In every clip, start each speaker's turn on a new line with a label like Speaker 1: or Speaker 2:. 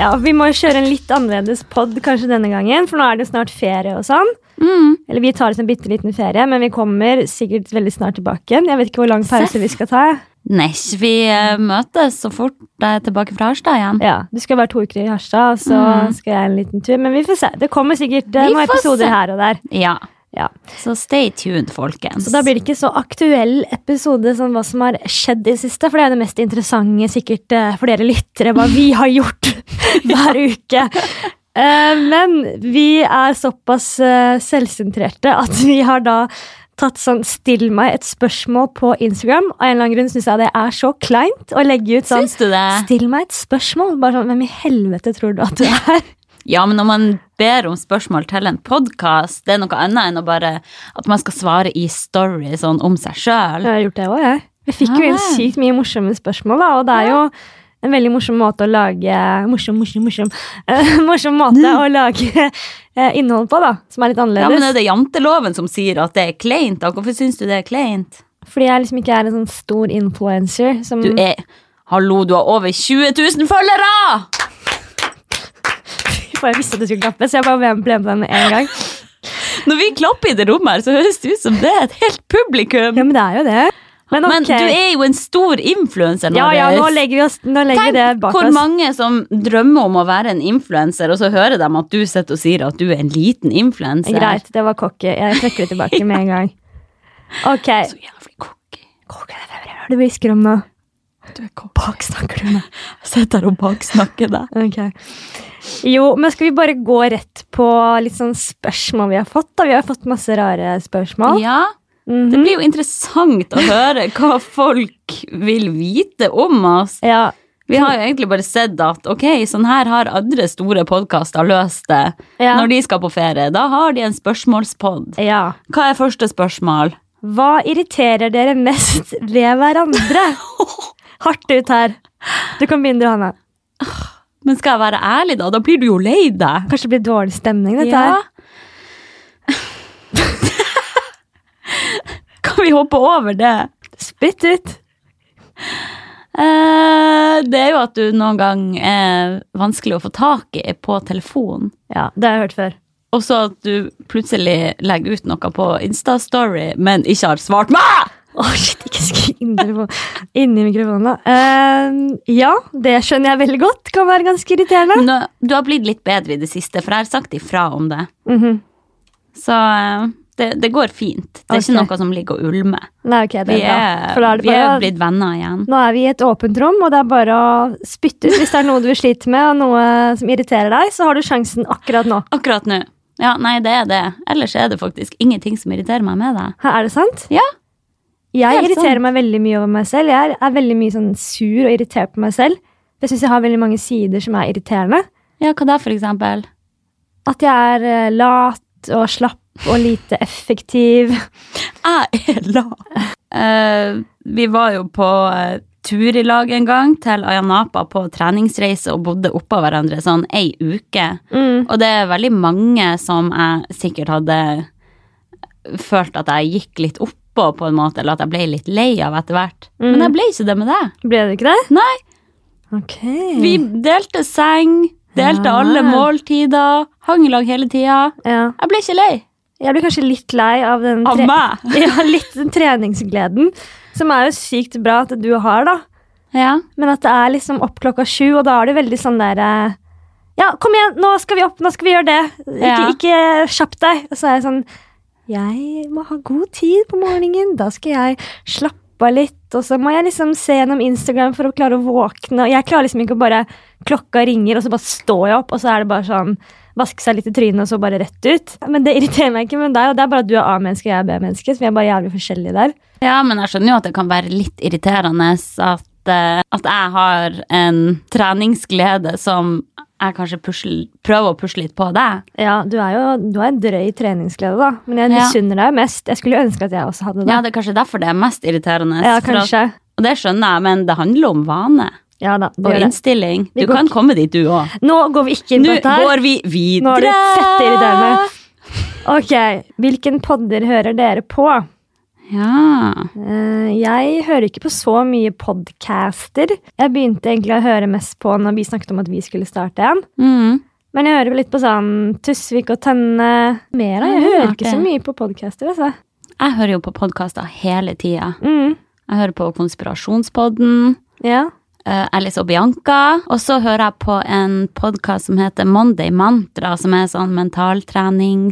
Speaker 1: Ja, Vi må jo kjøre en litt annerledes pod kanskje denne gangen, for nå er det jo snart ferie og sånn.
Speaker 2: Mm.
Speaker 1: Eller vi tar oss en bitte liten ferie, men vi kommer sikkert veldig snart tilbake igjen. Jeg vet ikke hvor lang pause
Speaker 2: Seff.
Speaker 1: vi skal ta.
Speaker 2: Nei, vi eh, møtes så fort jeg er tilbake fra Harstad igjen.
Speaker 1: Ja, Du skal være to uker i Harstad, og så
Speaker 2: Mm.
Speaker 1: skal jeg en liten tur. Men vi får se. Det kommer sikkert eh,
Speaker 2: Vi
Speaker 1: noen
Speaker 2: får se.
Speaker 1: episoder her og der.
Speaker 2: Ja.
Speaker 1: Ja.
Speaker 2: Så stay tuned, folkens.
Speaker 1: Så da blir det ikke så aktuell episode sånn hva som har skjedd i det siste. For det er jo det mest interessante sikkert eh, for dere lyttere, hva vi har gjort hver uke. Eh, Men vi er såpass eh, selvsentrerte at vi har da tatt sånn 'still meg et spørsmål' på Instagram. Av en eller annen grunn syns jeg det er så kleint å legge ut sånn
Speaker 2: Syns du det?
Speaker 1: 'still meg et spørsmål'. Bare sånn, Hvem i helvete tror du at du er?
Speaker 2: Ja, men når man ber om spørsmål til en podkast, det er noe annet enn å bare at man skal svare i story sånn om seg sjøl.
Speaker 1: Jeg har gjort det òg, jeg. Vi fikk jo
Speaker 2: Ja
Speaker 1: inn
Speaker 2: vel.
Speaker 1: sykt mye morsomme spørsmål, da, og det er jo en veldig morsom måte å lage Morsom, morsom, morsom. Eh, morsom måte å lage eh, innhold på, da, som er litt
Speaker 2: Ja,
Speaker 1: annerledes.
Speaker 2: men er det janteloven som sier at det er kleint? da? Hvorfor syns du det er kleint?
Speaker 1: Fordi jeg liksom ikke er en sånn stor influencer som
Speaker 2: Du er Hallo, du har over 20 000 følgere!
Speaker 1: For jeg visste at du skulle klappe, så jeg bare ble- ble med på den med en gang.
Speaker 2: Når vi klapper i det rommet her, så høres det ut som det er et helt publikum.
Speaker 1: Ja, men det er jo det. Men ok.
Speaker 2: Men du er jo en stor influenser.
Speaker 1: ja, ja, nå
Speaker 2: Marius.
Speaker 1: legger vi, oss, nå legger vi det
Speaker 2: Tenk
Speaker 1: bak
Speaker 2: hvor
Speaker 1: oss.
Speaker 2: mange som drømmer om å være en influenser, og så hører de at du sitter og sier at du er en liten influenser.
Speaker 1: Greit, det var cocky. Jeg trekker det tilbake med en gang. Ok.
Speaker 2: Så jævlig cocky.
Speaker 1: Cocky, det er det du hvisker om nå.
Speaker 2: Du er cocky.
Speaker 1: Baksnakker du meg?
Speaker 2: Sitter her og baksnakker deg.
Speaker 1: Ok. Jo, men skal vi bare gå rett på litt sånn spørsmål vi har fått? da? Vi har fått masse rare spørsmål.
Speaker 2: Ja,
Speaker 1: Mhm.
Speaker 2: det blir jo interessant å høre hva folk vil vite om oss.
Speaker 1: ja.
Speaker 2: Vi har jo egentlig bare sett at ok, sånn her har andre store podkaster løst det.
Speaker 1: Ja.
Speaker 2: Når de skal på ferie, da har de en spørsmålspod.
Speaker 1: ja.
Speaker 2: Hva er første spørsmål?
Speaker 1: Hva irriterer dere mest ved hverandre? Hardt ut her. Du kan begynne, du, Hanna.
Speaker 2: Men skal jeg være ærlig, da? Da blir du jo lei deg.
Speaker 1: Kanskje det blir dårlig stemning, dette her.
Speaker 2: kan vi hoppe over det?
Speaker 1: Spytt ut.
Speaker 2: Eh, det er jo at du noen gang er vanskelig å få tak i på telefon.
Speaker 1: Ja, det har jeg hørt før.
Speaker 2: Og så at du plutselig legger ut noe på Insta-story, men ikke har svart meg!
Speaker 1: Å, shit, ikke skri inn i mikrofonen. Inn i mikrofonen, da. Eh, ja, det skjønner jeg veldig godt. Kan være ganske irriterende.
Speaker 2: Nå, du har blitt litt bedre i det siste, for jeg har sagt ifra om det.
Speaker 1: Mhm.
Speaker 2: Så eh, det, det går fint. Det er
Speaker 1: Ok.
Speaker 2: ikke noe som ligger og ulmer.
Speaker 1: Nei, ok, det er
Speaker 2: Vi
Speaker 1: bra.
Speaker 2: er,
Speaker 1: For da er det
Speaker 2: vi
Speaker 1: bare
Speaker 2: er
Speaker 1: å-
Speaker 2: blitt venner igjen.
Speaker 1: Nå er vi i et åpent rom, og det er bare å spytte ut hvis det er noe du sliter med, og noe som irriterer deg, så har du sjansen akkurat nå.
Speaker 2: Akkurat nå. Ja, nei, det er det. Ellers er det faktisk ingenting som irriterer meg med deg.
Speaker 1: Hæ, Er det sant?
Speaker 2: Ja.
Speaker 1: Jeg
Speaker 2: Helt
Speaker 1: irriterer
Speaker 2: sant.
Speaker 1: meg veldig mye over meg selv. Jeg er veldig mye sånn sur og irritert på meg selv. Jeg syns jeg har veldig mange sider som er irriterende.
Speaker 2: Ja, hva da, for eksempel?
Speaker 1: At jeg er eh, lat og slapp og lite effektiv.
Speaker 2: Jeg er lat. Eh, vi var jo på eh, tur i lag en gang til Ayanapa på treningsreise og bodde oppå hverandre sånn ei uke.
Speaker 1: Mm.
Speaker 2: Og det er veldig mange som jeg sikkert hadde følt at jeg gikk litt oppå, på en måte, eller at jeg ble litt lei av etter hvert. Men jeg ble ikke det med deg.
Speaker 1: Ble det ikke det?
Speaker 2: Nei.
Speaker 1: Ok.
Speaker 2: Vi delte seng, delte
Speaker 1: Ja.
Speaker 2: alle måltider, hang i lag hele tida.
Speaker 1: Ja.
Speaker 2: Jeg ble ikke lei.
Speaker 1: Jeg blir kanskje litt lei av den
Speaker 2: Av
Speaker 1: tre-
Speaker 2: meg.
Speaker 1: ja, litt den treningsgleden, som er jo sykt bra at du har, da.
Speaker 2: Ja.
Speaker 1: Men at det er liksom opp klokka sju, og da er det veldig sånn der eh, Ja, kom igjen, nå skal vi opp, nå skal vi gjøre det. Ikke,
Speaker 2: Ja.
Speaker 1: ikke kjapp deg. Og så er jeg sånn Jeg må ha god tid på morgenen. Da skal jeg slappe av litt. Og så må jeg liksom se gjennom Instagram for å klare å våkne. Og jeg klarer liksom ikke å bare Klokka ringer, og så bare står jeg opp, og så er det bare sånn Vaske seg litt i trynet, og så bare rett ut. Men det irriterer meg ikke med deg, og det er bare at du er A-menneske og jeg er B-menneske. Så vi er bare jævlig forskjellige der.
Speaker 2: Ja, men jeg skjønner jo at det kan være litt irriterende at, eh, at jeg har en treningsglede som jeg kanskje pusler, prøver å pusle litt på deg.
Speaker 1: Ja, du er jo du har en drøy treningsglede, da. Men jeg
Speaker 2: Ja.
Speaker 1: misunner deg jo mest. Jeg skulle jo ønske at jeg også hadde det.
Speaker 2: Ja, det er kanskje derfor det er mest irriterende.
Speaker 1: Ja,
Speaker 2: for at,
Speaker 1: kanskje.
Speaker 2: og det skjønner jeg, men det handler om vane
Speaker 1: Ja da, det
Speaker 2: og
Speaker 1: gjør det.
Speaker 2: innstilling.
Speaker 1: Vi
Speaker 2: Du
Speaker 1: går
Speaker 2: kan komme dit, du òg.
Speaker 1: Nå går vi ikke inn på
Speaker 2: Nå
Speaker 1: dette her.
Speaker 2: går vi videre.
Speaker 1: Nå er du fett irriterende. Ok, Hvilken podder hører dere på?
Speaker 2: Ja.
Speaker 1: Eh, Jeg hører ikke på så mye podcaster. Jeg begynte egentlig å høre mest på når vi snakket om at vi skulle starte en.
Speaker 2: Mm.
Speaker 1: Men jeg hører vel litt på sånn Tusvik og Tønne. Mer av. Jeg
Speaker 2: Ja,
Speaker 1: hører
Speaker 2: ok.
Speaker 1: ikke så mye på podcaster, altså.
Speaker 2: Jeg hører jo på podkaster hele tida.
Speaker 1: Mm.
Speaker 2: Jeg hører på Konspirasjonspodden,
Speaker 1: Ja.
Speaker 2: eh, Alice og Bianca. Og så hører jeg på en podkast som heter Monday Mantra, som er sånn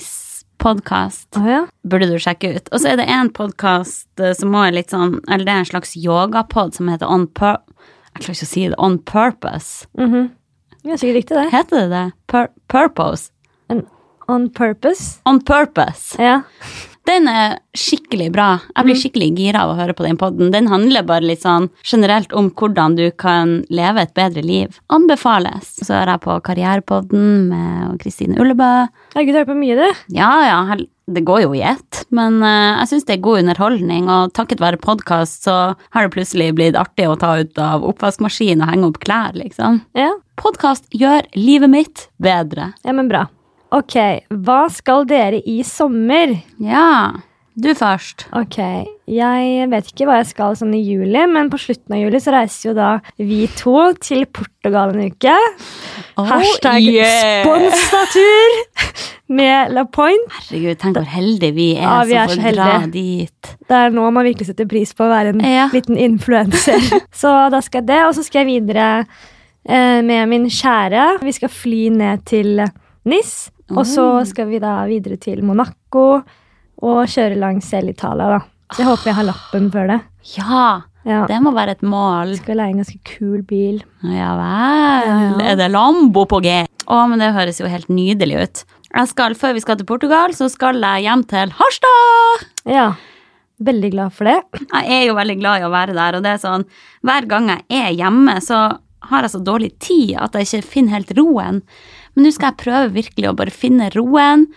Speaker 2: mentaltreningspodkast.
Speaker 1: Å ja.
Speaker 2: Burde du sjekke ut. Og så er det en podkast som også er litt sånn, eller det er en slags yogapod som heter On Pur... Jeg klarer ikke å si det. On Purpose.
Speaker 1: Mhm. Ja, sikkert riktig det.
Speaker 2: Heter det det? Pur purpose?
Speaker 1: En on purpose.
Speaker 2: On Purpose.
Speaker 1: Ja.
Speaker 2: Den er skikkelig bra. Jeg
Speaker 1: Mm.
Speaker 2: blir skikkelig gira av å høre på den podden. Den handler bare litt sånn generelt om hvordan du kan leve et bedre liv. Anbefales. Så hører jeg på Karrierepodden med Kristine Ullebø.
Speaker 1: Jeg har hørt på mye, du.
Speaker 2: Ja, ja, hel- det går jo i ett, men eh, jeg syns det er god underholdning, og takket være podkast så har det plutselig blitt artig å ta ut av oppvaskmaskinen og henge opp klær, liksom.
Speaker 1: Ja.
Speaker 2: Podkast gjør livet mitt bedre.
Speaker 1: ja, men bra. Ok, hva skal dere i sommer?
Speaker 2: Ja. Du først.
Speaker 1: Ok, jeg vet ikke hva jeg skal sånn i juli, men på slutten av juli så reiser jo da vi to til Portugal en uke.
Speaker 2: Oh,
Speaker 1: Hashtag spons natur med La Point.
Speaker 2: Herregud, tenk hvor heldige vi er
Speaker 1: Ja, vi er
Speaker 2: som
Speaker 1: så
Speaker 2: får dra
Speaker 1: heldige.
Speaker 2: dit.
Speaker 1: Det er nå man virkelig setter pris på å være en
Speaker 2: Ja.
Speaker 1: liten influenser. så da skal jeg det, og så skal jeg videre eh, med min kjære. Vi skal fly ned til Nis, og så skal vi da videre til Monaco og kjøre langs hele Italia, da. Så jeg håper jeg har lappen før det.
Speaker 2: Ja,
Speaker 1: Ja.
Speaker 2: det må være et mål.
Speaker 1: Skal leie en ganske kul bil.
Speaker 2: Ja vel.
Speaker 1: Ja, ja.
Speaker 2: Er det Lambo på G? Å, men det høres jo helt nydelig ut. Jeg skal, Før vi skal til Portugal, så skal jeg hjem til Harstad!
Speaker 1: Ja. Veldig glad for det.
Speaker 2: Jeg er jo veldig glad i å være der, og det er sånn hver gang jeg er hjemme, så har jeg så dårlig tid at jeg ikke finner helt roen. Men nå skal jeg prøve virkelig å bare finne roen.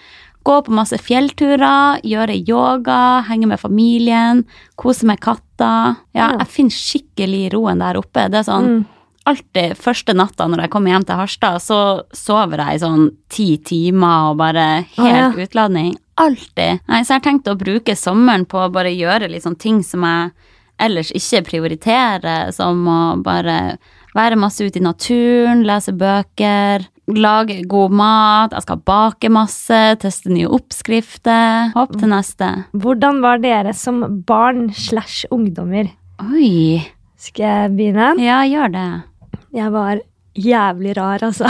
Speaker 2: Gå på masse fjellturer, gjøre yoga, henge med familien, kose med katter. Ja,
Speaker 1: Ja.
Speaker 2: jeg finner skikkelig roen der oppe. Det er sånn
Speaker 1: Mm.
Speaker 2: alltid første natta når jeg kommer hjem til Harstad, så sover jeg i sånn ti timer og bare
Speaker 1: Å, ja.
Speaker 2: helt utladning. Alltid. Nei, så jeg har tenkt å bruke sommeren på å bare gjøre litt sånn ting som jeg ellers ikke prioriterer, som å bare være masse ute i naturen, lese bøker, lage god mat, jeg skal bake masse, teste nye oppskrifter. Hopp til neste.
Speaker 1: Hvordan var dere som barn slash ungdommer?
Speaker 2: Oi.
Speaker 1: Skal jeg begynne?
Speaker 2: Ja, gjør det.
Speaker 1: Jeg var jævlig rar, altså.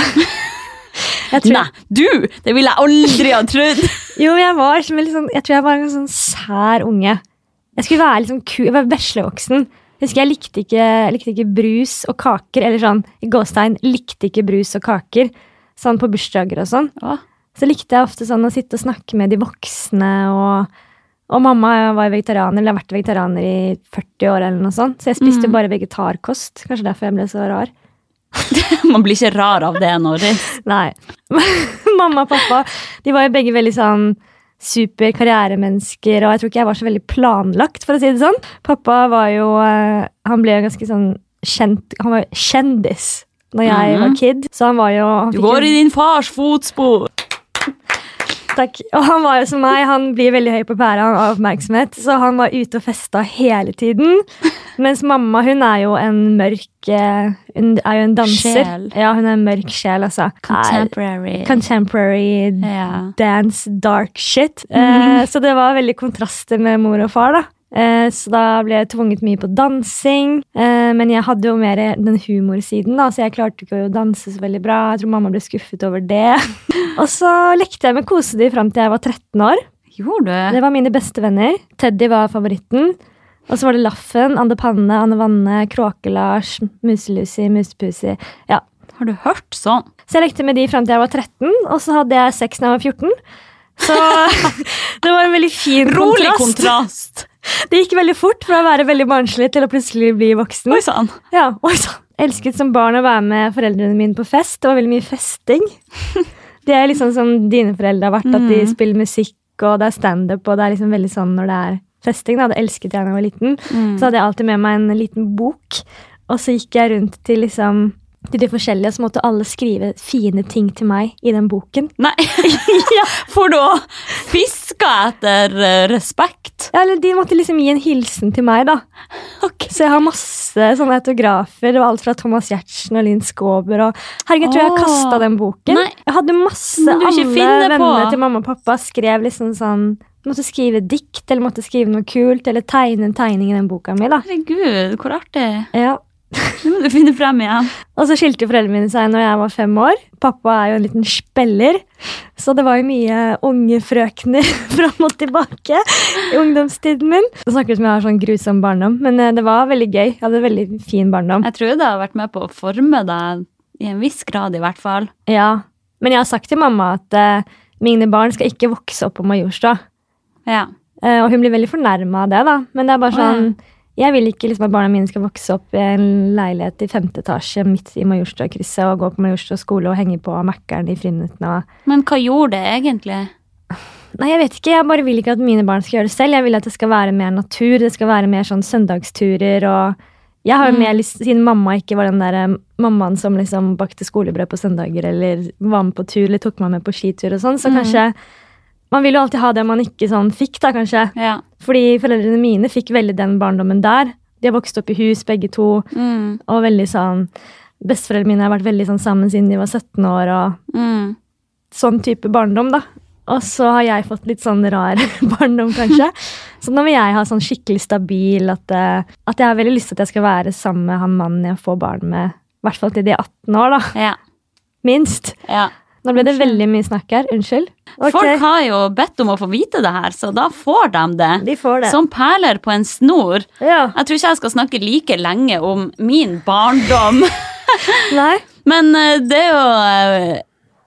Speaker 1: Jeg tror,
Speaker 2: Nei, du! Det ville jeg aldri ha trodd!
Speaker 1: jo, jeg var som en litt sånn, jeg tror jeg var en sånn sær unge. Jeg skulle være litt sånn ku, jeg var veslevoksen. Jeg husker jeg likte ikke, jeg likte ikke brus og kaker, eller sånn, i gåstein, likte ikke brus og kaker, sånn på bursdager og sånn.
Speaker 2: Å,
Speaker 1: Så likte jeg ofte sånn å sitte og snakke med de voksne. Og, og mamma var vegetarianer, eller har vært vegetarianer i 40 år, eller noe sånt. Så jeg spiste jo bare vegetarkost. Kanskje derfor jeg ble så rar.
Speaker 2: Man blir ikke rar av det, Norris.
Speaker 1: Nei. mamma og pappa de var jo begge veldig sånn super karrieremennesker, og jeg tror ikke jeg var så veldig planlagt, for å si det sånn. Pappa var jo eh, Han ble jo ganske sånn kjent Han var jo kjendis da jeg
Speaker 2: Mhm.
Speaker 1: var kid, så han var jo han
Speaker 2: Du
Speaker 1: fikk
Speaker 2: går
Speaker 1: jo-
Speaker 2: i din fars fotspor!
Speaker 1: Takk. Og han var jo som meg, han blir veldig høy på pæra av oppmerksomhet, så han var ute og festa hele tiden. Mens mamma, hun er jo en mørk eh, Hun er jo en danser.
Speaker 2: Sjel.
Speaker 1: Ja, hun er en mørk sjel, altså. Er
Speaker 2: Contemporary.
Speaker 1: Contemporary
Speaker 2: ja.
Speaker 1: dance dark shit. Eh, så det var veldig kontraster med mor og far, da. Eh, så da ble jeg tvunget mye på dansing. Eh, men jeg hadde jo mer den humorsiden, da, så jeg klarte ikke å danse så veldig bra. Jeg tror mamma ble skuffet over det. og så lekte jeg med kosedyr fram til jeg var 13 år.
Speaker 2: Gjorde du?
Speaker 1: Det var mine beste venner. Teddy var favoritten. Og så var det Laffen, Anne Panne, Anne Vanne, Kråke-Lars, Muselusi, Musepusi. Ja,
Speaker 2: Har du hørt sånn?
Speaker 1: så jeg lekte med de fram til jeg var 13, og så hadde jeg sex da jeg var 14. Så det var en veldig fin
Speaker 2: Rolig
Speaker 1: kontrast.
Speaker 2: kontrast!
Speaker 1: Det gikk veldig fort fra å være veldig barnslig til å plutselig bli voksen.
Speaker 2: Oi sann!
Speaker 1: Ja, oi sann. Elsket som barn å være med foreldrene mine på fest. Det var veldig mye festing. Det er liksom som dine foreldre har vært, at de spiller musikk, og det er standup, og det er liksom veldig sånn når det er festing. Da. Det elsket jeg da jeg var liten. Så hadde jeg alltid med meg en liten bok, og så gikk jeg rundt til liksom til de forskjellige, og så måtte alle skrive fine ting til meg i den boken.
Speaker 2: Nei,
Speaker 1: ja.
Speaker 2: for da fisk søker etter eh, respekt.
Speaker 1: Ja, eller De måtte liksom gi en hilsen til meg, da. Så jeg har masse sånne autografer. Det var alt fra Thomas Gjertsen og Linn Skåber. Og herregud, jeg tror jeg har
Speaker 2: Åh.
Speaker 1: kasta den boken.
Speaker 2: Nei.
Speaker 1: Jeg hadde masse
Speaker 2: Må du ikke
Speaker 1: Alle
Speaker 2: finne
Speaker 1: vennene
Speaker 2: på.
Speaker 1: til mamma og pappa skrev liksom sånn Måtte skrive dikt, eller måtte skrive noe kult, eller tegne en tegning i den boka mi. da.
Speaker 2: Herregud, hvor artig.
Speaker 1: Ja.
Speaker 2: Nå må du finne frem igjen.
Speaker 1: Og så skilte foreldrene mine seg når jeg var fem år. Pappa er jo en liten speller, så det var jo mye unge frøkner fram og tilbake i ungdomstiden min. Det snakker ut som jeg har sånn grusom barndom, men eh, det var veldig gøy. Jeg hadde en veldig fin barndom.
Speaker 2: Jeg tror det har vært med på å forme deg, i en viss grad i hvert fall.
Speaker 1: Ja, Men jeg har sagt til mamma at eh, mine barn skal ikke vokse opp på Majorstua.
Speaker 2: Ja.
Speaker 1: Eh, og hun blir veldig fornærma av det, da. Men det er bare
Speaker 2: Å, ja.
Speaker 1: sånn Jeg vil ikke liksom at barna mine skal vokse opp i en leilighet i femte etasje midt i Majorstua-krysset og gå på Majorstua skole og henge på Mækkern i friminuttene. og
Speaker 2: Men hva gjorde det egentlig?
Speaker 1: Nei, jeg vet ikke. Jeg bare vil ikke at mine barn skal gjøre det selv. Jeg vil at det skal være mer natur. Det skal være mer sånn søndagsturer og Jeg har jo
Speaker 2: Mm.
Speaker 1: mer lyst Siden mamma ikke var den der eh, mammaen som liksom bakte skolebrød på søndager eller var med på tur eller tok meg med på skitur og sånn, så
Speaker 2: Mm.
Speaker 1: kanskje Man vil jo alltid ha det man ikke sånn fikk, da, kanskje.
Speaker 2: Ja.
Speaker 1: Fordi foreldrene mine fikk veldig den barndommen der. De har vokst opp i hus, begge to,
Speaker 2: Mm.
Speaker 1: og veldig sånn Besteforeldrene mine har vært veldig sånn sammen siden de var 17 år, og
Speaker 2: Mm.
Speaker 1: sånn type barndom, da. Og så har jeg fått litt sånn rar barndom, kanskje. Så nå vil jeg ha sånn skikkelig stabil at, eh, at jeg har veldig lyst til at jeg skal være sammen med han mannen jeg får barn med. I hvert fall til de er 18 år, da.
Speaker 2: Ja.
Speaker 1: Minst.
Speaker 2: ja.
Speaker 1: Nå ble det
Speaker 2: Unnskyld.
Speaker 1: veldig mye snakk her. Unnskyld.
Speaker 2: Folk
Speaker 1: Ok,
Speaker 2: har jo bedt om å få vite det her, så da får de det.
Speaker 1: de får det.
Speaker 2: Som perler på en snor.
Speaker 1: Ja.
Speaker 2: Jeg tror ikke jeg skal snakke like lenge om min barndom.
Speaker 1: Nei.
Speaker 2: Men eh, det er jo eh,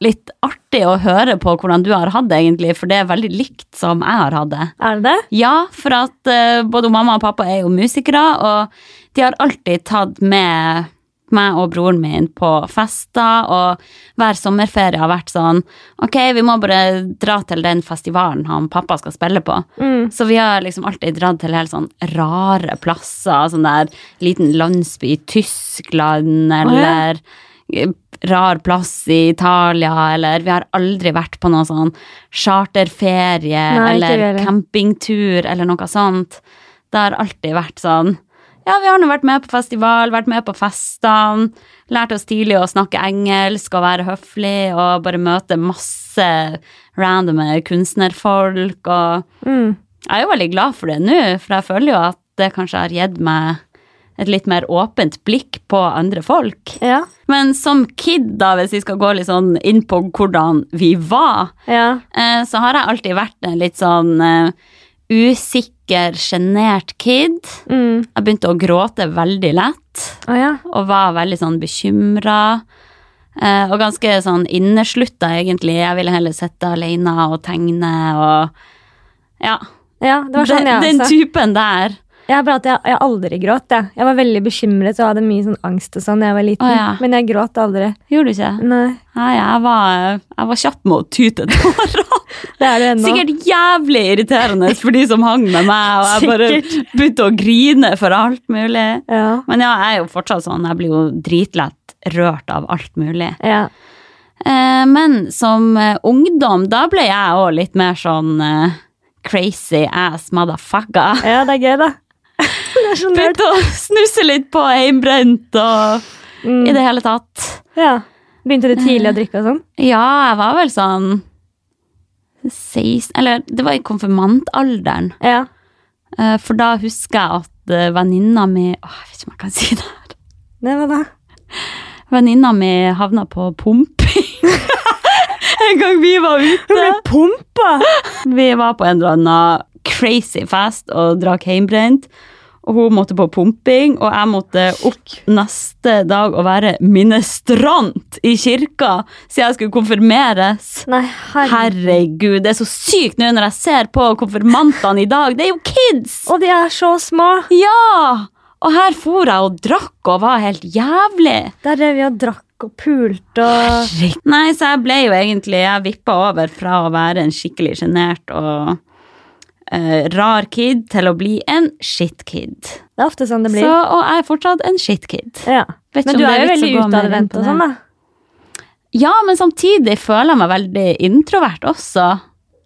Speaker 2: litt artig å høre på hvordan du har hatt det, egentlig, for det er veldig likt som jeg har hatt det.
Speaker 1: Er det det?
Speaker 2: Ja, for at eh, både mamma og pappa er jo musikere, og de har alltid tatt med meg og broren min på fester, og hver sommerferie har vært sånn Ok, vi må bare dra til den festivalen han pappa skal spille på.
Speaker 1: Mm.
Speaker 2: Så vi har liksom alltid dratt til helt sånn rare plasser, sånn der liten landsby i Tyskland, eller eh, rar plass i Italia, eller vi har aldri vært på noe sånn charterferie,
Speaker 1: Nei, ikke vi
Speaker 2: eller
Speaker 1: heller.
Speaker 2: campingtur, eller noe sånt. Det har alltid vært sånn, ja, vi har nå vært med på festival, vært med på festene, lært oss tidlig å snakke engelsk og være høflig, og bare møte masse randome kunstnerfolk, og
Speaker 1: Mm.
Speaker 2: jeg er jo veldig glad for det nå, for jeg føler jo at det kanskje har gitt meg et litt mer åpent blikk på andre folk.
Speaker 1: Ja.
Speaker 2: Men som kid, da, hvis vi skal gå litt sånn inn på hvordan vi var,
Speaker 1: Ja.
Speaker 2: eh, så har jeg alltid vært en litt sånn eh, usikker, sjenert kid.
Speaker 1: Mm.
Speaker 2: Jeg begynte å gråte veldig lett
Speaker 1: Å ja.
Speaker 2: og var veldig sånn bekymra. eh, Og ganske sånn inneslutta, egentlig. Jeg ville heller sitte alene og tegne og Ja.
Speaker 1: Ja, det var sånn
Speaker 2: Den-
Speaker 1: jeg
Speaker 2: Den
Speaker 1: også.
Speaker 2: typen der.
Speaker 1: Jeg, bare at jeg, jeg aldri gråt. Jeg. jeg var veldig bekymret og hadde mye sånn angst og sånn da jeg var liten.
Speaker 2: Å, ja.
Speaker 1: Men jeg gråt aldri.
Speaker 2: Gjorde du ikke?
Speaker 1: Nei,
Speaker 2: Nei, jeg var, jeg var kjapp med å tyte tårer.
Speaker 1: det er du ennå.
Speaker 2: Sikkert jævlig irriterende for de som hang med meg, og jeg bare
Speaker 1: Sikkert.
Speaker 2: begynte å grine for alt mulig.
Speaker 1: Ja.
Speaker 2: Men ja, jeg er jo fortsatt sånn, jeg blir jo dritlett rørt av alt mulig.
Speaker 1: ja.
Speaker 2: Eh, men som eh, ungdom, da ble jeg òg litt mer sånn eh, crazy ass motherfucker.
Speaker 1: ja, det er gøy, da. det er så nerd.
Speaker 2: Begynte å snuse litt på hjemmebrent og i
Speaker 1: Mm.
Speaker 2: det hele tatt.
Speaker 1: Ja. Begynte du tidlig
Speaker 2: Eh.
Speaker 1: å drikke og sånn?
Speaker 2: Ja, jeg var vel sånn 16 Eller det var i konfirmantalderen.
Speaker 1: Ja.
Speaker 2: Eh, For da husker jeg at eh, venninna mi Åh, Jeg vet ikke om jeg kan si det. her.
Speaker 1: Det var da.
Speaker 2: Venninna mi havna på pumping. en gang vi var
Speaker 1: Hun ble
Speaker 2: ute.
Speaker 1: pumpa!
Speaker 2: Vi var på en eller annen crazy fest og drakk hjemmebrent. Og hun måtte på pumping, og jeg måtte opp neste dag og være minestrant i kirka, så jeg skulle konfirmeres.
Speaker 1: Nei, herre.
Speaker 2: Herregud, det er så sykt nå når jeg ser på konfirmantene i dag. Det er jo kids!
Speaker 1: Og de er så små!
Speaker 2: Ja! Og her for jeg og drakk og var helt jævlig.
Speaker 1: Der drev vi og drakk og pulte og
Speaker 2: Nei, så jeg ble jo egentlig Jeg vippa over fra å være en skikkelig sjenert og eh, rar kid til å bli en shitkid.
Speaker 1: Det er ofte sånn det
Speaker 2: Så,
Speaker 1: blir.
Speaker 2: og jeg er fortsatt en shitkid.
Speaker 1: Ja.
Speaker 2: Vet ikke
Speaker 1: Men
Speaker 2: om
Speaker 1: du er
Speaker 2: det
Speaker 1: jo
Speaker 2: vits å
Speaker 1: veldig
Speaker 2: gå mer inn
Speaker 1: utadvendt
Speaker 2: på
Speaker 1: og
Speaker 2: det.
Speaker 1: sånn, da.
Speaker 2: Ja, men samtidig føler jeg meg veldig introvert også.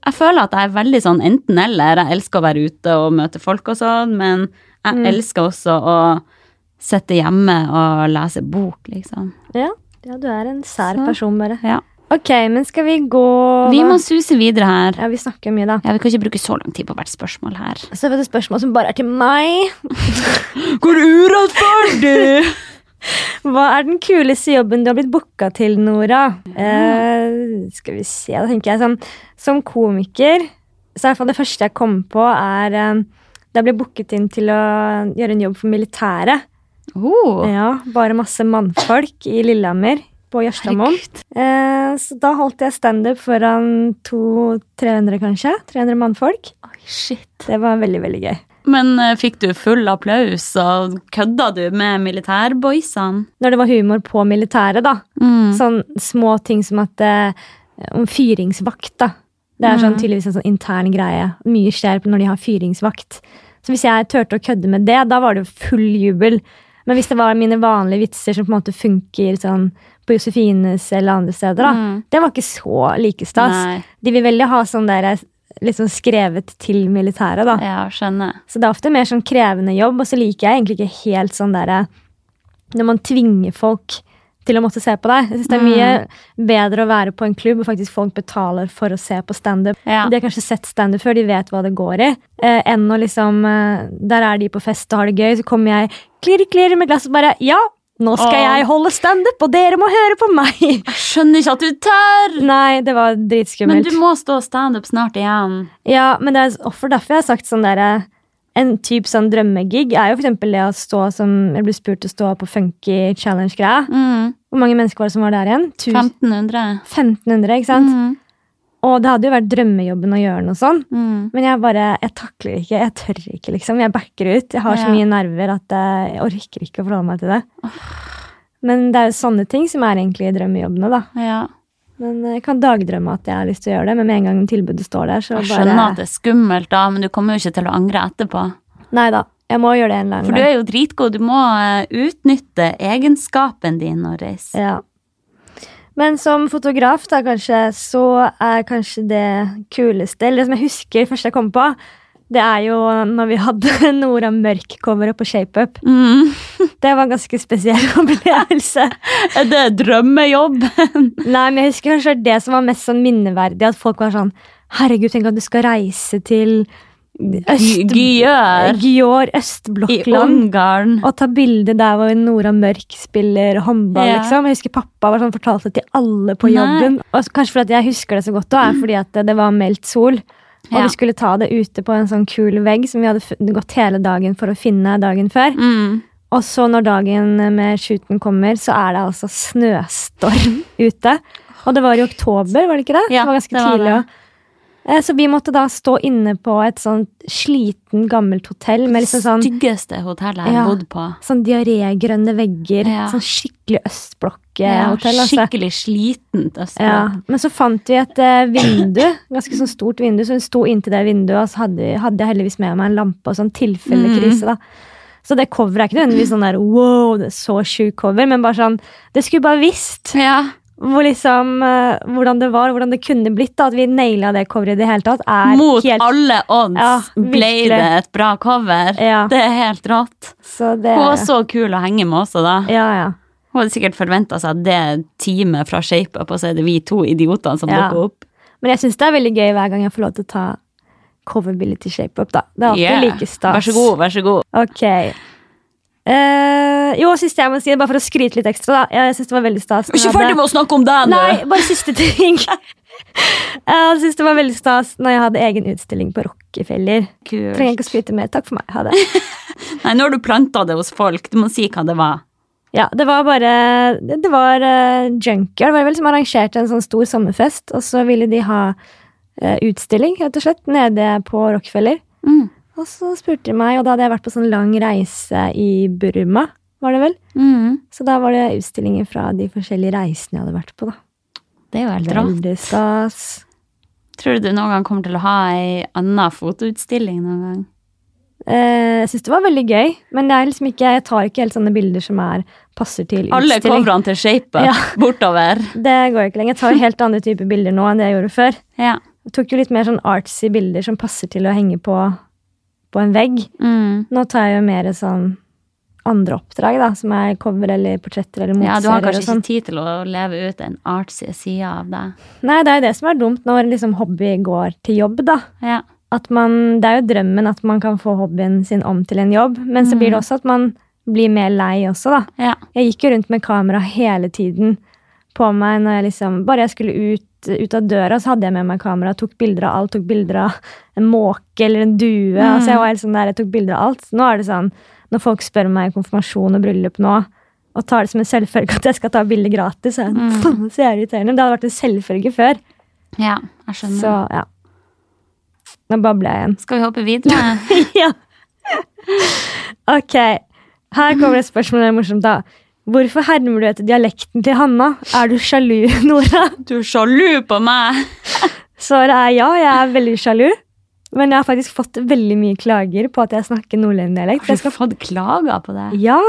Speaker 2: jeg føler at jeg er veldig sånn enten-eller. Jeg elsker å være ute og møte folk og sånn, men jeg
Speaker 1: Mm.
Speaker 2: elsker også å sitte hjemme og lese bok, liksom.
Speaker 1: Ja. ja, du er en sær
Speaker 2: Så.
Speaker 1: person, bare.
Speaker 2: Ja.
Speaker 1: Ok, men skal vi gå
Speaker 2: Vi må suse videre her.
Speaker 1: Ja, vi snakker mye, da.
Speaker 2: Ja, vi kan ikke bruke så lang tid på hvert spørsmål her.
Speaker 1: Så var det spørsmål som bare er til meg.
Speaker 2: Hvor urettferdig!
Speaker 1: Hva er den kuleste jobben du har blitt booka til, Nora? Eh, skal vi se, da tenker jeg sånn Som komiker så er i hvert fall det første jeg kom på, er eh, da jeg ble booket inn til å gjøre en jobb for militæret.
Speaker 2: oh,
Speaker 1: Ja, Bare masse mannfolk i Lillehammer, på Jørstadmoen.
Speaker 2: herregud.
Speaker 1: Eh, så da holdt jeg standup foran 200-300, kanskje. 300 mannfolk.
Speaker 2: Oi, shit.
Speaker 1: Det var veldig, veldig gøy.
Speaker 2: Men eh, fikk du full applaus, og kødda du med militærboysene?
Speaker 1: Når det var humor på militæret, da.
Speaker 2: Mm.
Speaker 1: Sånn små ting som at eh, Om fyringsvakt, da. Det er sånn,
Speaker 2: Mhm.
Speaker 1: tydeligvis en sånn intern greie. Mye skjer på når de har fyringsvakt. Så hvis jeg turte å kødde med det, da var det jo full jubel. Men hvis det var mine vanlige vitser som på en måte funker sånn på Josefines eller andre steder, da,
Speaker 2: Mm.
Speaker 1: det var ikke så like stas.
Speaker 2: Nei,
Speaker 1: De vil veldig ha sånn der liksom skrevet til militæret, da.
Speaker 2: ja, skjønner.
Speaker 1: Så det er ofte mer sånn krevende jobb, og så liker jeg egentlig ikke helt sånn derre Når man tvinger folk til å måtte se på deg. Jeg synes det
Speaker 2: Mm.
Speaker 1: er mye bedre å være på en klubb hvor faktisk folk betaler for å se på standup.
Speaker 2: Ja.
Speaker 1: De har kanskje sett standup før, de vet hva det går i. Eh, enn å liksom eh, Der er de på fest og har det gøy, så kommer jeg klirr, klirr med glasset og bare Ja, nå skal
Speaker 2: Åh.
Speaker 1: jeg holde standup, og dere må høre på meg!
Speaker 2: Jeg skjønner ikke at du tør!
Speaker 1: Nei, det var
Speaker 2: Men
Speaker 1: dritskummelt.
Speaker 2: du må stå standup snart igjen.
Speaker 1: Ja, men det er offer derfor jeg har sagt sånn derre En type sånn drømmegig er jo for eksempel det å stå som Jeg ble spurt til å stå på funky challenge-greia.
Speaker 2: Mm.
Speaker 1: Hvor mange mennesker var det som var der igjen? 1000
Speaker 2: 1500.
Speaker 1: 1500, ikke sant?
Speaker 2: Mm.
Speaker 1: Og det hadde jo vært drømmejobben å gjøre noe sånn.
Speaker 2: Mm.
Speaker 1: Men jeg bare, jeg takler ikke. Jeg tør ikke, liksom. Jeg backer ut. Jeg har så
Speaker 2: Ja.
Speaker 1: mye nerver at eh, jeg orker ikke å forholde meg til det. Men det er jo sånne ting som er egentlig drømmejobbene, da.
Speaker 2: Ja.
Speaker 1: Men eh, jeg kan dagdrømme at jeg har lyst til å gjøre det, men med en gang tilbudet står der, så
Speaker 2: Jeg
Speaker 1: bare
Speaker 2: skjønner at det er skummelt, da, men du kommer jo ikke til å angre etterpå.
Speaker 1: Nei da. Jeg må gjøre det en eller annen
Speaker 2: For du er jo dritgod. Du må eh, utnytte egenskapen din og reise.
Speaker 1: Ja. Men som fotograf da, kanskje, så er kanskje det kuleste Eller det som jeg husker først jeg kom på, det er jo når vi hadde Nora Mørk-coveret på ShapeUp.
Speaker 2: Mm.
Speaker 1: Det var en ganske spesiell opplevelse.
Speaker 2: Er det drømmejobb?
Speaker 1: Nei, men jeg husker kanskje det som var mest sånn minneverdig, at folk var sånn Herregud, tenk at du skal reise til
Speaker 2: Gy-
Speaker 1: Øst...
Speaker 2: Gjør
Speaker 1: Gyør,
Speaker 2: i
Speaker 1: Østblokkland.
Speaker 2: Ungarn.
Speaker 1: Og ta bilde der hvor Nora Mørk spiller håndball.
Speaker 2: Ja.
Speaker 1: liksom. Jeg husker Pappa var sånn, fortalte det til alle på
Speaker 2: Nei.
Speaker 1: jobben. Og så- kanskje fordi at jeg husker det så godt, også, er fordi at det- det var meldt sol. Og
Speaker 2: Ja.
Speaker 1: vi skulle ta det ute på en sånn kul vegg som vi hadde fu- gått hele dagen for å finne dagen før.
Speaker 2: Mm.
Speaker 1: Og så når dagen med shooten kommer, så er det altså snøstorm ute. Og det var i oktober, var det ikke det?
Speaker 2: Ja,
Speaker 1: det var ganske
Speaker 2: det var
Speaker 1: tidlig.
Speaker 2: det.
Speaker 1: også. Eh, Så vi måtte da stå inne på et sånt sliten, gammelt hotell med liksom sånn
Speaker 2: Styggeste hotellet jeg har
Speaker 1: Ja.
Speaker 2: bodd på.
Speaker 1: Sånn diarégrønne vegger.
Speaker 2: Ja.
Speaker 1: Sånn skikkelig
Speaker 2: Ja,
Speaker 1: østblokkhotell. altså.
Speaker 2: skikkelig slitent altså. Østfold.
Speaker 1: Ja. Men så fant vi et eh, vindu, ganske sånn stort vindu, så hun sto inntil det vinduet, og så hadde, hadde jeg heldigvis med meg en lampe og sånn tilfelle
Speaker 2: Mhm.
Speaker 1: krise, da. Så det coveret er ikke nødvendigvis sånn der wow, det er så sjukt cover, men bare sånn Det skulle bare visst
Speaker 2: Ja.
Speaker 1: hvor liksom, eh, hvordan det var, hvordan det kunne blitt, da, at vi naila det coveret i det hele tatt, er
Speaker 2: Mot
Speaker 1: helt
Speaker 2: alle odds
Speaker 1: Ja,
Speaker 2: ble
Speaker 1: virkelig.
Speaker 2: det et bra cover.
Speaker 1: Ja.
Speaker 2: Det er helt rått.
Speaker 1: Så det
Speaker 2: Hun var så kul å henge med også, da.
Speaker 1: Ja, ja.
Speaker 2: Hun hadde sikkert forventa seg det teamet fra ShapeUp, og så er det vi to idiotene som
Speaker 1: Ja.
Speaker 2: dukker opp.
Speaker 1: Men jeg syns det er veldig gøy hver gang jeg får lov til å ta coverbildet til ShapeUp. da. Det er alltid
Speaker 2: Yeah.
Speaker 1: like stas.
Speaker 2: Vær så god, vær så god.
Speaker 1: Ok. Eh, jo, siste jeg må si, bare for å skryte litt ekstra, da. Jeg syns det var veldig stas. når jeg hadde-
Speaker 2: med å snakke om deg
Speaker 1: Nei, bare siste ting. Eh, jeg syns det var veldig stas når jeg hadde egen utstilling på Rockefeller. Trenger ikke å skryte mer. Takk for meg. Ha det.
Speaker 2: Nei, nå har du planta det hos folk. Du må si hva det var.
Speaker 1: Ja, det var bare Det var uh, Junkyard var det vel som arrangerte en sånn stor sommerfest, og så ville de ha eh, utstilling, rett og slett, nede på Rockefeller.
Speaker 2: Mm.
Speaker 1: Og så spurte de meg, og da hadde jeg vært på sånn lang reise i Burma, var det vel?
Speaker 2: Mm.
Speaker 1: Så da var det utstillinger fra de forskjellige reisene jeg hadde vært på, da.
Speaker 2: Det er jo helt rått.
Speaker 1: Veldig stas.
Speaker 2: Tror du du noen gang kommer til å ha ei anna fotoutstilling noen gang?
Speaker 1: Eh, Jeg syns det var veldig gøy, men det er liksom ikke, jeg tar ikke helt sånne bilder som er, passer til
Speaker 2: Alle
Speaker 1: utstilling.
Speaker 2: coverene til ShapeUp
Speaker 1: Ja.
Speaker 2: bortover.
Speaker 1: Det går ikke lenger. Jeg tar helt andre typer bilder nå enn det jeg gjorde før.
Speaker 2: Ja.
Speaker 1: Jeg tok jo litt mer sånn artsy bilder som passer til å henge på, på en vegg.
Speaker 2: Mm.
Speaker 1: Nå tar jeg jo mer sånn andre oppdrag, da, som er cover eller portretter eller
Speaker 2: Ja, du
Speaker 1: motserier. og
Speaker 2: har kanskje
Speaker 1: sånn.
Speaker 2: ikke tid til å leve ut den artsy sida av deg.
Speaker 1: Nei, det er jo det som er dumt når liksom hobby går til jobb, da.
Speaker 2: Ja.
Speaker 1: At man, det er jo drømmen at man kan få hobbyen sin om til en jobb, men så blir det også at man blir mer lei også, da.
Speaker 2: ja.
Speaker 1: Jeg gikk jo rundt med kamera hele tiden på meg når jeg liksom Bare jeg skulle ut, ut av døra, så hadde jeg med meg kamera. Tok bilder av alt. Tok bilder av en måke eller en due. Altså jeg var helt sånn der, jeg tok bilder av alt. Nå er det sånn når folk spør meg i konfirmasjon og bryllup nå, og tar det som en selvfølge at jeg skal ta bilder gratis, så er jeg faen så jævlig irriterende. Det hadde vært en selvfølge før.
Speaker 2: ja, jeg skjønner.
Speaker 1: Så ja. Nå babler jeg igjen.
Speaker 2: Skal vi hoppe videre?
Speaker 1: ja. Ok. Her kommer et spørsmål. Det er morsomt, da. Hvorfor hermer du etter dialekten til Hanna? Er du sjalu, Nora?
Speaker 2: Du er sjalu på meg!
Speaker 1: Svaret er ja, jeg er veldig sjalu. Men jeg har faktisk fått veldig mye klager på at jeg snakker nordlendingsdialekt.
Speaker 2: Har
Speaker 1: Jeg
Speaker 2: du
Speaker 1: skal-
Speaker 2: fått klager på det?
Speaker 1: Ja!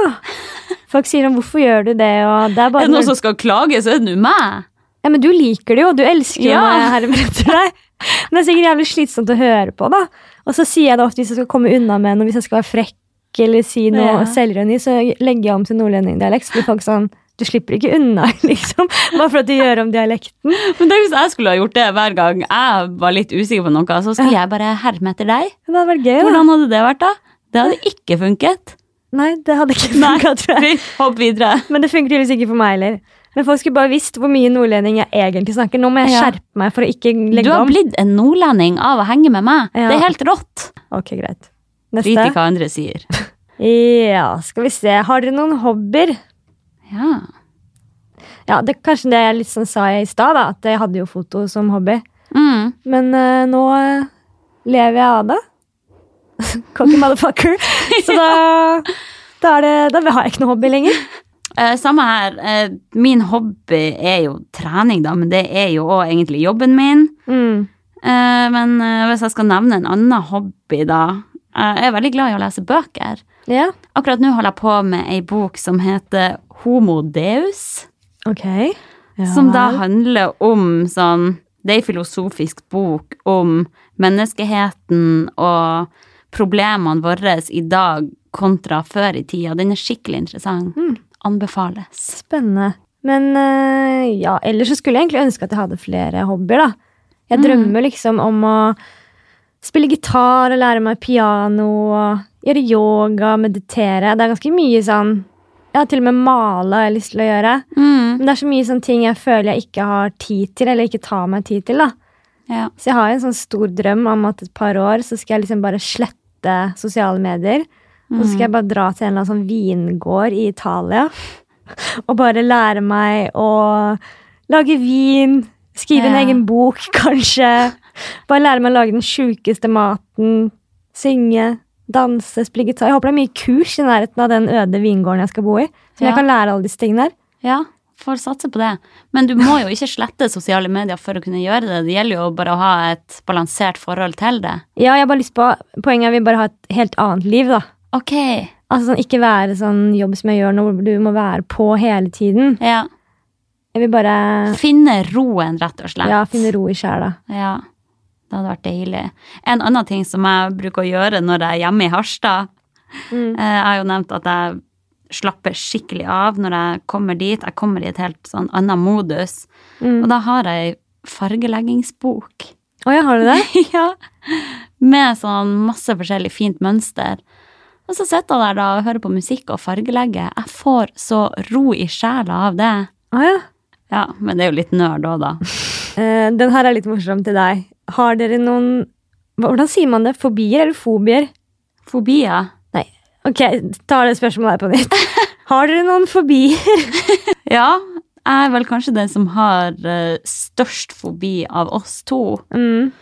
Speaker 1: Folk sier om 'hvorfor gjør du det', og det er bare
Speaker 2: Er det noen som skal klage, så er det nå meg!
Speaker 1: Ja, Men du liker det jo, og du elsker jo
Speaker 2: Ja.
Speaker 1: når jeg hermer etter deg. Men det er sikkert jævlig slitsomt å høre på, da. Og så sier jeg det ofte hvis jeg skal komme unna med noe, hvis jeg skal være frekk eller si noe
Speaker 2: Ja.
Speaker 1: selvironi, så legger jeg om til nordlendingdialekt. Så blir folk sånn Du slipper ikke unna, liksom. Bare for at du gjør om dialekten.
Speaker 2: Men tenk hvis jeg skulle ha gjort det hver gang jeg var litt usikker på noe, så skulle jeg bare herme etter deg.
Speaker 1: Det hadde vært gøy, da.
Speaker 2: Hvordan hadde det vært, da? Det hadde ikke funket.
Speaker 1: Nei, det hadde ikke
Speaker 2: Nei,
Speaker 1: funka, tror jeg.
Speaker 2: vi hopper videre.
Speaker 1: Men det funker tydeligvis ikke for meg heller. Men folk skulle bare visst hvor mye nordlending jeg egentlig snakker. Nå må jeg
Speaker 2: Ja.
Speaker 1: skjerpe meg for å ikke
Speaker 2: Du
Speaker 1: legge
Speaker 2: har
Speaker 1: om.
Speaker 2: blitt en nordlending av å henge med meg.
Speaker 1: Ja.
Speaker 2: Det er helt rått.
Speaker 1: Ok, greit.
Speaker 2: Drit i
Speaker 1: Neste.
Speaker 2: hva andre sier.
Speaker 1: Ja, skal vi se. Har dere noen hobbyer?
Speaker 2: Ja.
Speaker 1: Ja, det, Kanskje det jeg litt sånn sa i stad, da, at jeg hadde jo foto som hobby.
Speaker 2: Mm.
Speaker 1: Men eh, nå eh, lever jeg av det. Cocky motherfucker. Så da, da, er det, da har jeg ikke noe hobby lenger.
Speaker 2: Eh, samme her. Eh, min hobby er jo trening, da, men det er jo òg egentlig jobben min.
Speaker 1: Mm.
Speaker 2: Eh, men eh, hvis jeg skal nevne en annen hobby, da eh, Jeg er veldig glad i å lese bøker.
Speaker 1: Ja,
Speaker 2: Akkurat nå holder jeg på med ei bok som heter Homo deus.
Speaker 1: ok.
Speaker 2: Som da handler om sånn Det er ei filosofisk bok om menneskeheten og problemene våre i dag kontra før i tida. Den er skikkelig interessant. Anbefales.
Speaker 1: Spennende. Men eh, ja, ellers så skulle jeg egentlig ønske at jeg hadde flere hobbyer, da. Jeg drømmer liksom om å spille gitar og lære meg piano og gjøre yoga, meditere. Det er ganske mye sånn Ja, til og med male har jeg lyst til å gjøre.
Speaker 2: Mm.
Speaker 1: Men det er så mye sånne ting jeg føler jeg ikke har tid til, eller ikke tar meg tid til. da.
Speaker 2: Ja.
Speaker 1: Så jeg har en sånn stor drøm om at et par år så skal jeg liksom bare slette sosiale medier. Og så skal
Speaker 2: Mm.
Speaker 1: jeg bare dra til en eller annen sånn vingård i Italia og bare lære meg å lage vin. Skrive en
Speaker 2: Ja.
Speaker 1: egen bok, kanskje. Bare lære meg å lage den sjukeste maten. Synge, danse, spille gitar. Jeg håper det er mye kurs i nærheten av den øde vingården jeg skal bo i. Så
Speaker 2: Ja.
Speaker 1: jeg kan lære alle disse tingene der.
Speaker 2: Ja, får satse på det. Men du må jo ikke slette sosiale medier for å kunne gjøre det. Det gjelder jo bare å ha et balansert forhold til det.
Speaker 1: Ja, jeg har bare lyst på Poenget er vi bare har et helt annet liv, da.
Speaker 2: Ok,
Speaker 1: Altså sånn, Ikke være sånn jobb som jeg gjør nå, hvor du må være på hele tiden.
Speaker 2: ja.
Speaker 1: Jeg vil bare
Speaker 2: Finne roen, rett og slett.
Speaker 1: ja, finne ro i sjela.
Speaker 2: Ja. Det hadde vært deilig. En annen ting som jeg bruker å gjøre når jeg er hjemme i Harstad
Speaker 1: Mm.
Speaker 2: eh, Jeg har jo nevnt at jeg slapper skikkelig av når jeg kommer dit. Jeg kommer i et helt sånn annet modus.
Speaker 1: Mm.
Speaker 2: Og da har jeg ei fargeleggingsbok.
Speaker 1: Å ja, har du det?
Speaker 2: ja. Med sånn masse forskjellig fint mønster. Og så sitter jeg der da og hører på musikk og fargelegger. Jeg får så ro i sjela av det.
Speaker 1: Å Ah, ja.
Speaker 2: Ja, men det er jo litt nerd òg, da.
Speaker 1: Eh, den her er litt morsom til deg. Har dere noen hva- Hvordan sier man det? Fobier eller fobier?
Speaker 2: Fobier.
Speaker 1: Nei. Ok, ta det spørsmålet her på nytt. Har dere noen fobier?
Speaker 2: Ja, jeg er vel kanskje den som har eh, størst fobi av oss to.
Speaker 1: Mm.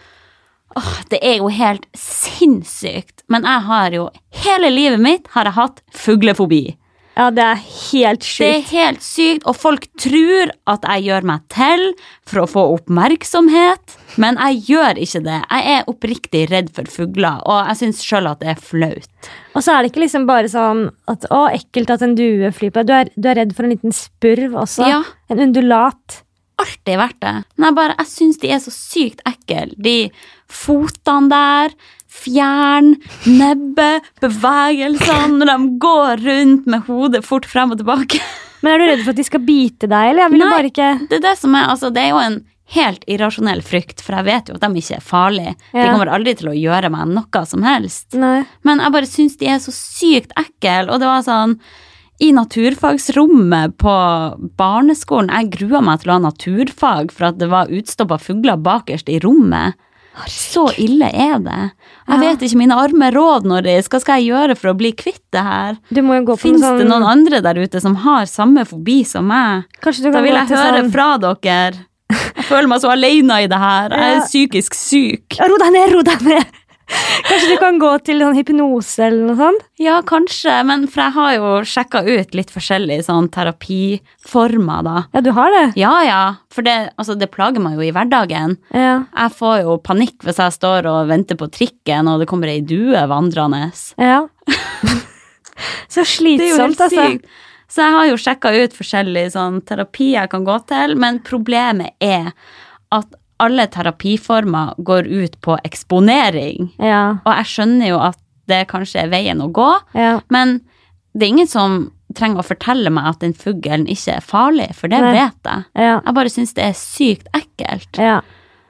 Speaker 2: Åh, det er jo helt sinnssykt. Men jeg har jo Hele livet mitt har jeg hatt fuglefobi.
Speaker 1: Ja, det er helt
Speaker 2: Det er
Speaker 1: sjukt.
Speaker 2: helt sykt, og folk tror at jeg gjør meg til for å få oppmerksomhet, men jeg gjør ikke det. Jeg er oppriktig redd for fugler, og jeg syns sjøl at det er flaut.
Speaker 1: Og så er det ikke liksom bare sånn at å, ekkelt at en due flyr på. Du er, du er redd for en liten spurv også.
Speaker 2: Ja.
Speaker 1: En undulat.
Speaker 2: alltid vært det. Men jeg bare, jeg syns de er så sykt ekle. De fotene der, fjern, nebbet, bevegelsene når de går rundt med hodet fort frem og tilbake.
Speaker 1: Men er du redd for at de skal bite deg, eller? Jeg vil jo
Speaker 2: Nei.
Speaker 1: bare ikke
Speaker 2: Det er det som er, altså, det er jo en helt irrasjonell frykt, for jeg vet jo at de ikke er farlige. De
Speaker 1: Ja.
Speaker 2: kommer aldri til å gjøre meg noe som helst.
Speaker 1: Nei.
Speaker 2: Men jeg bare syns de er så sykt ekle, og det var sånn i naturfagsrommet på barneskolen. Jeg grua meg til å ha naturfag for at det var utstoppa fugler bakerst i rommet. Så ille er det. Jeg
Speaker 1: Ja.
Speaker 2: vet ikke mine arme råd, Norris. Hva skal jeg gjøre for å bli kvitt det her?
Speaker 1: Du må jo gå på
Speaker 2: Fins
Speaker 1: noe sånn
Speaker 2: det noen andre der ute som har samme fobi som meg?
Speaker 1: Kanskje du
Speaker 2: Da
Speaker 1: kan
Speaker 2: vil
Speaker 1: gå
Speaker 2: jeg
Speaker 1: til
Speaker 2: høre
Speaker 1: sånn
Speaker 2: fra dere. Jeg føler meg så alene i det her. Jeg
Speaker 1: Ja.
Speaker 2: er psykisk syk.
Speaker 1: Ja, Ro deg ned, ro deg ned! Kanskje du kan gå til sånn hypnose eller noe sånt?
Speaker 2: Ja, kanskje, men for jeg har jo sjekka ut litt forskjellige sånn terapiformer, da.
Speaker 1: Ja, du har det.
Speaker 2: Ja ja, for det, altså, det plager meg jo i hverdagen.
Speaker 1: Ja.
Speaker 2: Jeg får jo panikk hvis jeg står og venter på trikken, og det kommer ei due vandrende.
Speaker 1: ja. Så
Speaker 2: Det er jo
Speaker 1: slitsomt,
Speaker 2: helt
Speaker 1: altså.
Speaker 2: sykt. Så jeg har jo sjekka ut forskjellige sånn, terapier jeg kan gå til, men problemet er at alle terapiformer går ut på eksponering.
Speaker 1: Ja.
Speaker 2: Og jeg skjønner jo at det kanskje er veien å gå,
Speaker 1: ja.
Speaker 2: men det er ingen som trenger å fortelle meg at den fuglen ikke er farlig, for det
Speaker 1: Nei.
Speaker 2: vet jeg.
Speaker 1: Ja.
Speaker 2: Jeg bare syns det er sykt ekkelt.
Speaker 1: ja.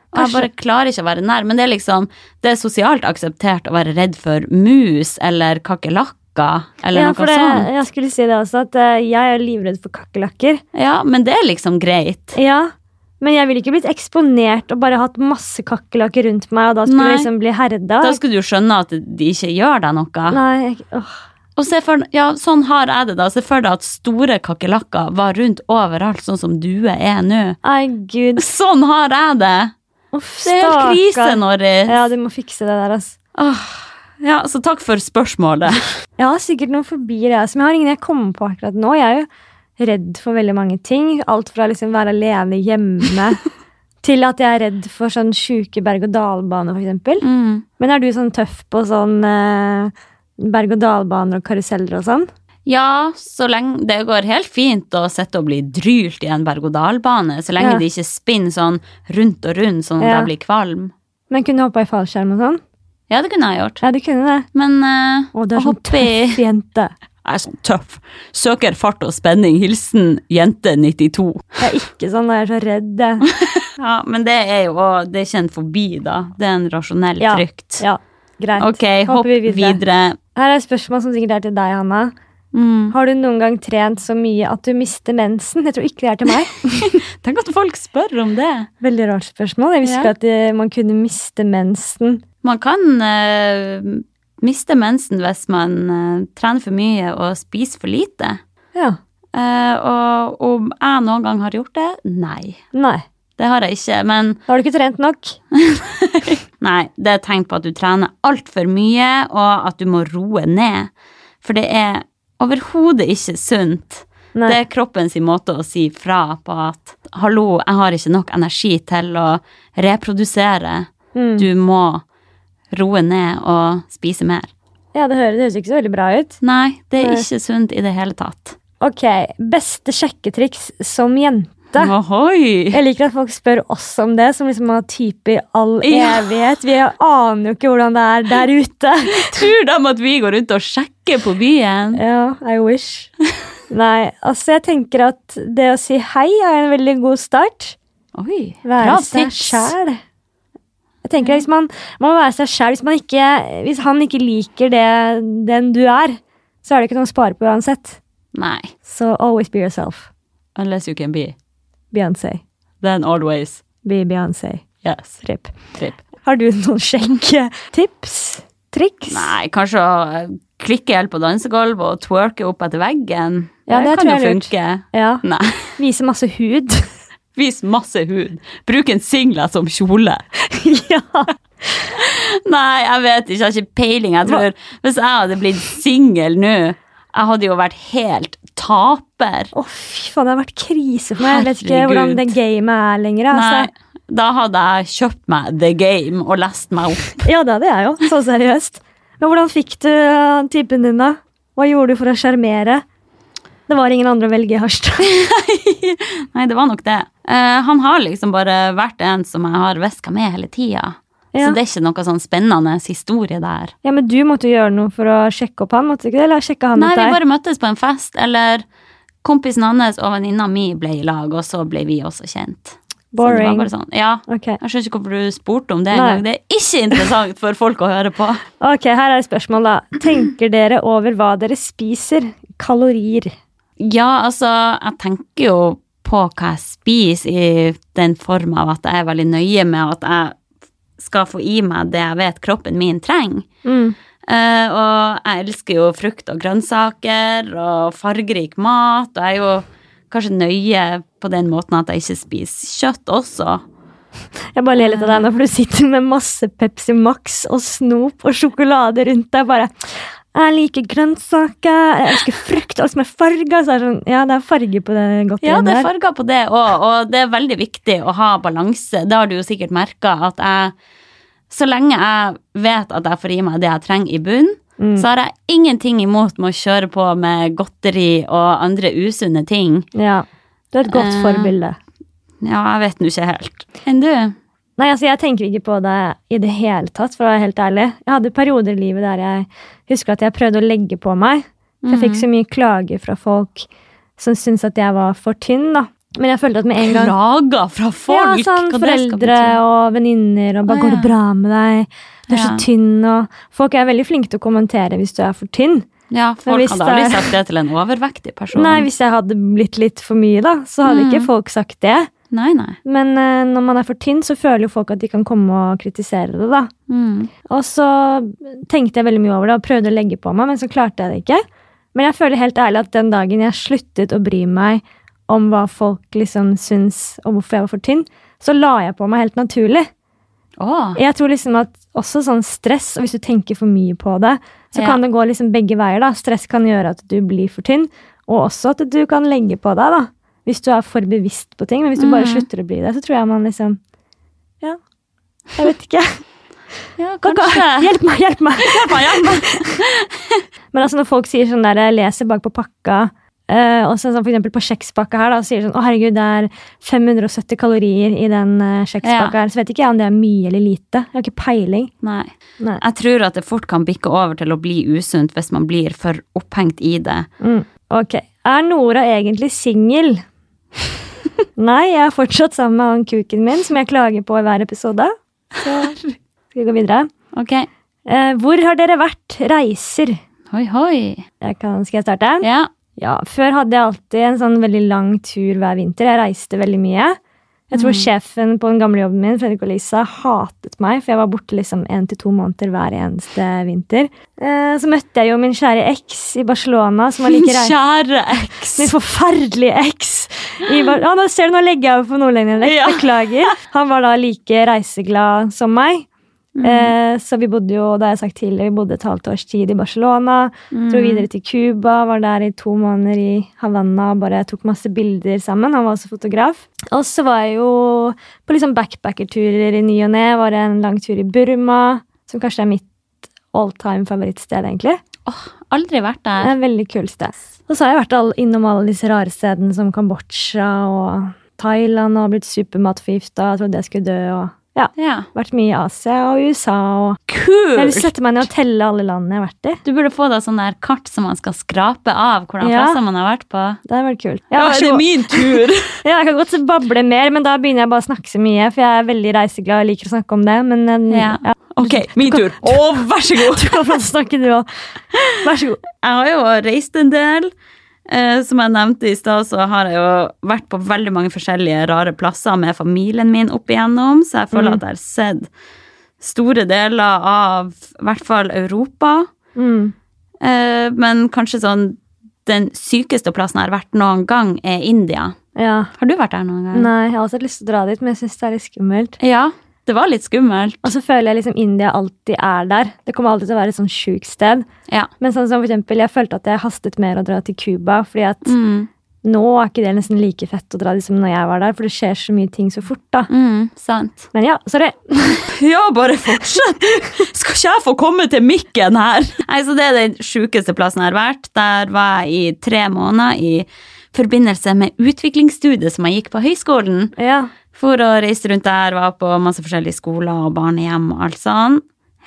Speaker 2: Og jeg
Speaker 1: Kanskje-
Speaker 2: bare klarer ikke å være nær. Men det er liksom Det er sosialt akseptert å være redd for mus eller kakerlakker eller
Speaker 1: ja,
Speaker 2: noe
Speaker 1: for det,
Speaker 2: sånt.
Speaker 1: jeg skulle si det også, at eh, jeg er livredd for kakerlakker.
Speaker 2: Ja, men det er liksom greit.
Speaker 1: Ja. Men jeg ville ikke blitt eksponert og bare hatt masse kakerlakker rundt meg, og da skulle
Speaker 2: Nei.
Speaker 1: jeg liksom bli herda.
Speaker 2: Da skulle du skjønne at de ikke gjør deg noe.
Speaker 1: Nei, jeg, åh.
Speaker 2: Og se for, ja, sånn har jeg det da. Se for deg at store kakerlakker var rundt overalt, sånn som duer er nå.
Speaker 1: Nei, gud.
Speaker 2: Sånn har jeg det!
Speaker 1: Uff,
Speaker 2: Det er helt krise, Norris.
Speaker 1: Ja, du må fikse det der, altså.
Speaker 2: Åh, ja, så takk for spørsmålet.
Speaker 1: Jeg har sikkert noen fobier, jeg, som jeg har ingen jeg kommer på akkurat nå. Jeg er jo redd for veldig mange ting. Alt fra liksom være alene hjemme til at jeg er redd for sånn sjuke berg-og-dal-bane, for eksempel.
Speaker 2: Mm.
Speaker 1: Men er du sånn tøff på sånn eh, berg-og-dal-baner og karuseller og sånn?
Speaker 2: Ja, så lenge det går helt fint å sitte og bli drylt i en berg-og-dal-bane, så lenge
Speaker 1: Ja.
Speaker 2: de ikke spinner sånn rundt og rundt sånn at
Speaker 1: Ja.
Speaker 2: jeg blir kvalm.
Speaker 1: Men kunne hoppa i fallskjerm og sånn?
Speaker 2: Ja, det kunne jeg gjort.
Speaker 1: Ja, du kunne det.
Speaker 2: Men eh,
Speaker 1: Å, du er
Speaker 2: å
Speaker 1: sånn
Speaker 2: hoppe i
Speaker 1: tøff jente.
Speaker 2: Jeg er sånn tøff. Søker fart og spenning. Hilsen jente 92.
Speaker 1: Jeg er ikke sånn, jeg er så redd. jeg.
Speaker 2: Ja, men det er jo også, det er ikke en fobi, da. Det er en rasjonell
Speaker 1: Ja.
Speaker 2: frykt.
Speaker 1: Ja, greit.
Speaker 2: Ok, hopp
Speaker 1: Hopper vi
Speaker 2: videre.
Speaker 1: videre. Her er et spørsmål som sikkert er til deg, Hanna.
Speaker 2: Mm.
Speaker 1: Har du noen gang trent så mye at du mister mensen? Jeg tror ikke det er til meg.
Speaker 2: Tenk at folk spør om det.
Speaker 1: Veldig rart spørsmål. Jeg visste
Speaker 2: Ja.
Speaker 1: ikke at eh, man kunne miste mensen.
Speaker 2: Man kan eh, miste mensen hvis man eh, trener for mye og spiser for lite.
Speaker 1: Ja.
Speaker 2: Eh, og om jeg noen gang har gjort det? Nei.
Speaker 1: Nei.
Speaker 2: Det har jeg ikke, men
Speaker 1: Da har du ikke trent nok.
Speaker 2: Nei, det er tegn på at du trener altfor mye, og at du må roe ned. For det er overhodet ikke sunt.
Speaker 1: Nei.
Speaker 2: Det er kroppen sin måte å si fra på at hallo, jeg har ikke nok energi til å reprodusere.
Speaker 1: Mm.
Speaker 2: Du må roe ned og spise mer.
Speaker 1: Ja, det høres, det høres ikke så veldig bra ut.
Speaker 2: Nei, det er
Speaker 1: Nei.
Speaker 2: ikke sunt i det hele tatt.
Speaker 1: Ok, beste sjekketriks som jente.
Speaker 2: Ohoi!
Speaker 1: Jeg liker at folk spør oss om det, som liksom har type i all
Speaker 2: Ja.
Speaker 1: evighet. Vi aner jo ikke hvordan det er der ute.
Speaker 2: Tror de at vi går rundt og sjekker på byen?
Speaker 1: Ja, I wish. Nei, altså jeg tenker at det å si hei er en veldig god start.
Speaker 2: Oi, bra
Speaker 1: Være seg
Speaker 2: tips.
Speaker 1: sjæl. Jeg tenker at hvis man, man må være seg sjæl. Hvis, man ikke- hvis han ikke liker det, den du er, så er det ikke noe å spare på uansett.
Speaker 2: Nei,
Speaker 1: Så always be yourself.
Speaker 2: unless you can be.
Speaker 1: Beyoncé.
Speaker 2: Then always.
Speaker 1: Be Beyoncé.
Speaker 2: Yes.
Speaker 1: Rip.
Speaker 2: Tripp.
Speaker 1: Har du noen sjekketips? Triks?
Speaker 2: Nei, kanskje å eh, klikke helt på dansegulvet og twerke opp etter veggen.
Speaker 1: Ja, det
Speaker 2: kan
Speaker 1: tror jeg er
Speaker 2: jo
Speaker 1: lurt.
Speaker 2: funke.
Speaker 1: Ja.
Speaker 2: Nei.
Speaker 1: Vise masse hud.
Speaker 2: Vis masse hud. Bruk en singlet som kjole.
Speaker 1: ja.
Speaker 2: Nei, jeg vet ikke. Jeg har ikke peiling. Jeg tror, hvis jeg hadde blitt singel nå, jeg hadde jo vært helt taper.
Speaker 1: Å, fy faen, det har vært krise for meg. Jeg vet ikke
Speaker 2: Herregud.
Speaker 1: hvordan det gamet er lenger.
Speaker 2: Nei,
Speaker 1: Altså.
Speaker 2: da hadde jeg kjøpt meg The Game og lest meg opp.
Speaker 1: Ja, det hadde jeg jo. Så seriøst. Men hvordan fikk du eh, typen din, da? Hva gjorde du for å sjarmere? Det var ingen andre å velge i Harstad.
Speaker 2: Nei, det var nok det. Eh, Eh, han har liksom bare vært en som jeg har hviska med hele tida.
Speaker 1: Ja.
Speaker 2: Så det er ikke noe sånn spennende historie der.
Speaker 1: Ja, men du måtte jo gjøre noe for å sjekke opp han, måtte du ikke det? Eller sjekke han
Speaker 2: Nei,
Speaker 1: ut
Speaker 2: vi
Speaker 1: deg?
Speaker 2: bare Sånn, møttes på en fest, eller kompisen hans og venninna mi ble i lag, og så ble vi også kjent. Så det
Speaker 1: Boring.
Speaker 2: var bare sånn, ja.
Speaker 1: Ok.
Speaker 2: Jeg skjønner ikke hvorfor du spurte om det
Speaker 1: Nei.
Speaker 2: engang. Det er ikke interessant for folk å høre på.
Speaker 1: ok, her er et spørsmål, da. Tenker dere over hva dere spiser? Kalorier.
Speaker 2: Ja, altså, jeg tenker jo på hva jeg spiser i den form av at jeg er veldig nøye med at jeg skal få i meg det jeg vet kroppen min trenger.
Speaker 1: Mm.
Speaker 2: Eh, og jeg elsker jo frukt og grønnsaker og fargerik mat, og jeg er jo kanskje nøye på den måten at jeg ikke spiser kjøtt også.
Speaker 1: Jeg bare ler litt av deg nå, for du sitter med masse Pepsi Max og snop og sjokolade rundt deg. bare... Jeg liker grønnsaker, jeg elsker frukt, alt som er farga. Så er det sånn, ja, det er farge på det godteriet
Speaker 2: Ja, det er
Speaker 1: der.
Speaker 2: farger på det òg, og det er veldig viktig å ha balanse. Det har du jo sikkert merka, at jeg Så lenge jeg vet at jeg får i meg det jeg trenger i bunnen,
Speaker 1: Mm.
Speaker 2: så har jeg ingenting imot med å kjøre på med godteri og andre usunne ting.
Speaker 1: Ja, Du er et godt
Speaker 2: Eh.
Speaker 1: forbilde.
Speaker 2: Ja, jeg vet nå ikke helt. Enn du?
Speaker 1: Nei, altså Jeg tenker ikke på det i det hele tatt, for å være helt ærlig. Jeg hadde perioder i livet der jeg husker at jeg prøvde å legge på meg. For jeg fikk
Speaker 2: Mm.
Speaker 1: så mye klager fra folk som syntes at jeg var for tynn. da. Men jeg følte at med en gang
Speaker 2: Klager fra folk?
Speaker 1: Ja, sånn
Speaker 2: hva det skal
Speaker 1: Foreldre
Speaker 2: bety.
Speaker 1: og venninner og bare
Speaker 2: Å,
Speaker 1: 'Går
Speaker 2: ja.
Speaker 1: det bra med deg?' 'Du er så
Speaker 2: Ja.
Speaker 1: tynn' og Folk er veldig flinke til å kommentere hvis du er for tynn.
Speaker 2: Ja, folk
Speaker 1: hvis
Speaker 2: hadde aldri
Speaker 1: det er-
Speaker 2: sagt det til en overvektig person.
Speaker 1: Nei, hvis jeg hadde blitt litt for mye, da, så hadde
Speaker 2: Mm.
Speaker 1: ikke folk sagt det.
Speaker 2: nei. nei.
Speaker 1: Men eh, når man er for tynn, så føler jo folk at de kan komme og kritisere det, da.
Speaker 2: Mm.
Speaker 1: Og så tenkte jeg veldig mye over det og prøvde å legge på meg, men så klarte jeg det ikke. Men jeg føler helt ærlig at den dagen jeg sluttet å bry meg om hva folk liksom syns, og hvorfor jeg var for tynn, så la jeg på meg helt naturlig.
Speaker 2: Åh,
Speaker 1: Jeg tror liksom at også sånn stress, og hvis du tenker for mye på det, så
Speaker 2: Ja.
Speaker 1: kan det gå liksom begge veier. da. Stress kan gjøre at du blir for tynn, og også at du kan legge på deg da. hvis du er for bevisst på ting. Men hvis du bare
Speaker 2: Mhm.
Speaker 1: slutter å bli det, så tror jeg man liksom Ja, jeg vet ikke.
Speaker 2: ja, kanskje.
Speaker 1: Hjelp meg, hjelp meg! Men altså når folk sier sånn der, jeg leser bak på pakka, eh, og så sånn for eksempel på kjekspakka her, da, og sier sånn, å herregud, det er 570 kalorier i den eh, kjekspakka her, så vet ikke jeg om det er mye eller lite. Jeg har ikke peiling.
Speaker 2: Nei.
Speaker 1: Nei.
Speaker 2: Jeg tror at det fort kan bikke over til å bli usunt hvis man blir for opphengt i det.
Speaker 1: Mm. Ok. Er Nora egentlig singel? Nei, jeg er fortsatt sammen med han kuken min, som jeg klager på i hver episode. Så skal vi gå videre.
Speaker 2: Ok.
Speaker 1: Eh, hvor har dere vært? Reiser.
Speaker 2: Hoi, hoi.
Speaker 1: Jeg kan, skal jeg starte?
Speaker 2: Ja.
Speaker 1: Ja, Før hadde jeg alltid en sånn veldig lang tur hver vinter. Jeg reiste veldig mye. Jeg tror sjefen på den gamle jobben min Fredrik og Lisa, hatet meg, for jeg var borte liksom én til to måneder hver eneste vinter. Eh, så møtte jeg jo min kjære eks i Barcelona, som var like reist.
Speaker 2: Kjære eks.
Speaker 1: Min forferdelige eks. i Bar- Ja, nå ser du, nå legger jeg over på nordlendingen.
Speaker 2: Ja.
Speaker 1: Beklager. Han var da like reiseglad som meg. Eh, så vi bodde jo, det har jeg sagt tidligere, vi bodde et halvt års tid i Barcelona. Dro videre til Cuba, var der i to måneder i Havanna og bare tok masse bilder sammen. Han var også fotograf. Og så var jeg jo på liksom backpackerturer i ny og ne. Var det en lang tur i Burma, som kanskje er mitt all time favorittsted, egentlig.
Speaker 2: Åh, aldri vært
Speaker 1: Det
Speaker 2: der.
Speaker 1: er et veldig kult sted. Og så har jeg vært all, innom alle disse rare stedene som Kambodsja og Thailand og blitt supermatforgifta og trodde jeg skulle dø og Ja.
Speaker 2: Ja.
Speaker 1: Vært mye i Asia og USA og Jeg vil
Speaker 2: Kult!
Speaker 1: sette meg ned og telle alle landene jeg har vært i.
Speaker 2: Du burde få deg sånn der kart som man skal skrape av hvordan
Speaker 1: Ja.
Speaker 2: plasser man har vært på.
Speaker 1: Det har vært kult. Jeg, har vært så-
Speaker 2: min tur!
Speaker 1: ja, jeg kan godt bable mer, men da begynner jeg bare å snakke så mye, for jeg er veldig reiseglad og liker å snakke om det. Men eh,
Speaker 2: Ja.
Speaker 1: ja.
Speaker 2: ok, min tur. Å, vær så god!
Speaker 1: du kan få snakke, du òg. Vær så god.
Speaker 2: Jeg har jo reist en del. Eh, som jeg nevnte i stad, så har jeg jo vært på veldig mange forskjellige rare plasser med familien min opp igjennom, så jeg føler at jeg har sett store deler av i hvert fall Europa.
Speaker 1: Mm.
Speaker 2: Eh, men kanskje sånn den sykeste plassen jeg har vært noen gang, er India.
Speaker 1: Ja.
Speaker 2: Har du vært der noen gang?
Speaker 1: Nei, jeg har også hatt lyst til å dra dit, men jeg syns det er litt skummelt.
Speaker 2: Ja, det var litt skummelt.
Speaker 1: Og så føler jeg liksom India alltid er der. Det kommer alltid til å være et sånn sjukt sted.
Speaker 2: Ja.
Speaker 1: Men sånn som for eksempel, jeg følte at jeg hastet mer å dra til Cuba, fordi at
Speaker 2: Mm,
Speaker 1: nå er ikke det nesten like fett å dra dit som når jeg var der, for det skjer så mye ting så fort, da.
Speaker 2: mm, sant.
Speaker 1: Men ja, sorry.
Speaker 2: Ja, bare fortsett! Skal ikke jeg få komme til mikken her? Nei, så Det er den sjukeste plassen jeg har vært. Der var jeg i tre måneder i forbindelse med utviklingsstudiet som jeg gikk på høyskolen.
Speaker 1: Ja.
Speaker 2: For å reise rundt der, var på masse forskjellige skoler og barnehjem og alt sånn.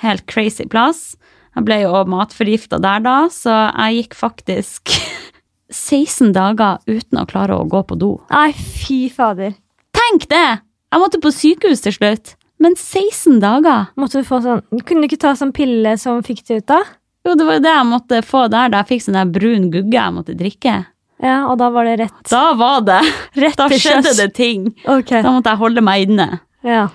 Speaker 2: Helt crazy plass. Jeg ble jo også matforgifta der da, så jeg gikk faktisk 16 dager uten å klare å gå på do.
Speaker 1: Nei, fy fader.
Speaker 2: Tenk det! Jeg måtte på sykehus til slutt. Men 16 dager?
Speaker 1: Måtte du få sånn Kunne du ikke ta sånn pille som fikk det ut, da?
Speaker 2: Jo, det var jo det jeg måtte få der, da jeg fikk sånn der brun gugge jeg måtte drikke.
Speaker 1: Ja, og da var det rett.
Speaker 2: Da var det
Speaker 1: Rett
Speaker 2: Da
Speaker 1: til
Speaker 2: skjedde
Speaker 1: sjøs.
Speaker 2: det ting.
Speaker 1: Ok.
Speaker 2: Da måtte jeg holde meg inne.
Speaker 1: Ja.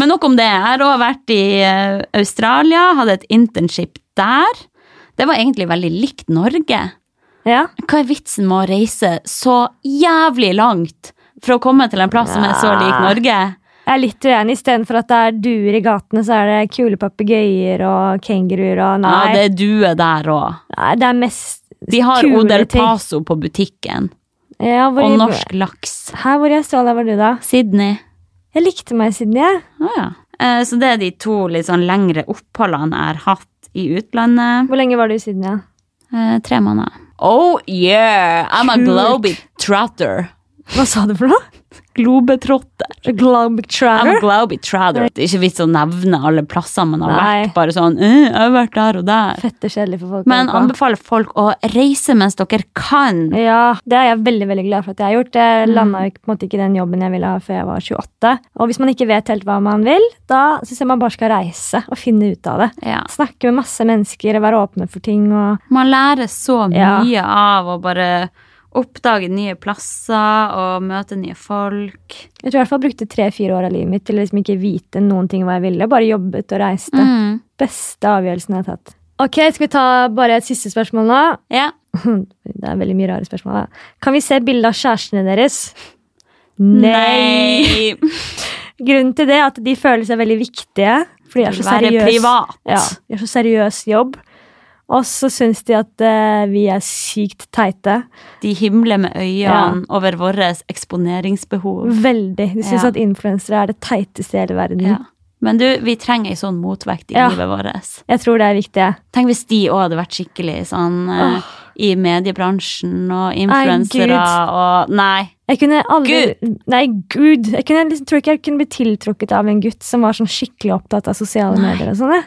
Speaker 2: Men nok om det. Jeg har òg vært i eh, Australia, hadde et internship der. Det var egentlig veldig likt Norge.
Speaker 1: ja.
Speaker 2: Hva er vitsen med å reise så jævlig langt for å komme til en plass som er så lik Norge?
Speaker 1: Jeg er litt uenig. Istedenfor at det er duer i gatene, så er det kule papegøyer og kenguruer og
Speaker 2: Ja,
Speaker 1: Nei.
Speaker 2: det er due der òg.
Speaker 1: Nei, det er mest
Speaker 2: De har
Speaker 1: kule
Speaker 2: Odel
Speaker 1: ting.
Speaker 2: Paso på butikken.
Speaker 1: Ja, hvor
Speaker 2: Og
Speaker 1: i-
Speaker 2: norsk laks.
Speaker 1: Her hvor i Australia var du, da?
Speaker 2: Sydney.
Speaker 1: Jeg likte meg i Sydney, jeg.
Speaker 2: Å ja. Eh, Så det er de to litt sånn lengre oppholdene jeg har hatt i utlandet.
Speaker 1: Hvor lenge var du i Sydney? da?
Speaker 2: Eh, Tre måneder. Oh yeah! I'm a
Speaker 1: Kult.
Speaker 2: globetrotter.
Speaker 1: Hva sa du for noe?
Speaker 2: Globetrotter. I'm a
Speaker 1: Globetrotter?
Speaker 2: globetrotter. Det er ikke vits å nevne alle plasser man har
Speaker 1: Nei.
Speaker 2: vært. Bare sånn, eh, jeg har vært der og der.
Speaker 1: Fette kjedelig for folk. å
Speaker 2: Men
Speaker 1: høre på.
Speaker 2: anbefaler folk å reise mens dere kan.
Speaker 1: Ja, det er jeg veldig veldig glad for at jeg har gjort. Jeg
Speaker 2: Mm.
Speaker 1: landa jo på en måte ikke den jobben jeg ville ha før jeg var 28. Og hvis man ikke vet helt hva man vil, da syns jeg man bare skal reise og finne ut av det.
Speaker 2: Ja.
Speaker 1: Snakke med masse mennesker og være åpne for ting. Og
Speaker 2: Man lærer så
Speaker 1: Ja.
Speaker 2: mye av å bare oppdage nye plasser og møte nye folk.
Speaker 1: jeg tror i hvert fall jeg brukte tre-fire år av livet mitt til å liksom ikke vite noen ting hva jeg ville. Bare jobbet og reiste.
Speaker 2: Mm.
Speaker 1: Beste avgjørelsen jeg har tatt. Ok, Skal vi ta bare et siste spørsmål nå?
Speaker 2: Ja.
Speaker 1: Det er veldig mye rare spørsmål. Da. Kan vi se bilde av kjærestene deres?
Speaker 2: Nei!
Speaker 1: Grunnen til det er at de føler seg veldig viktige. Fordi de er så
Speaker 2: Være
Speaker 1: seriøse.
Speaker 2: privat.
Speaker 1: Ja, de har så seriøs jobb. Og så syns de at eh, vi er sykt teite.
Speaker 2: De himler med øynene over vårt eksponeringsbehov.
Speaker 1: Veldig. De syns
Speaker 2: Ja.
Speaker 1: at influensere er det teiteste i hele verden.
Speaker 2: Ja. Men du, vi trenger ei sånn motvekt i
Speaker 1: Mm. Ja.
Speaker 2: livet vårt.
Speaker 1: Jeg tror det er viktig. jeg.
Speaker 2: Tenk hvis de òg hadde vært skikkelig sånn eh,
Speaker 1: Åh.
Speaker 2: i mediebransjen og
Speaker 1: Nei,
Speaker 2: influensere og Nei.
Speaker 1: Jeg kunne aldri Nei, gud! Jeg kunne, liksom, tror ikke jeg kunne bli tiltrukket av en gutt som var sånn skikkelig opptatt av sosiale
Speaker 2: Nei.
Speaker 1: medier. og sånn, jeg.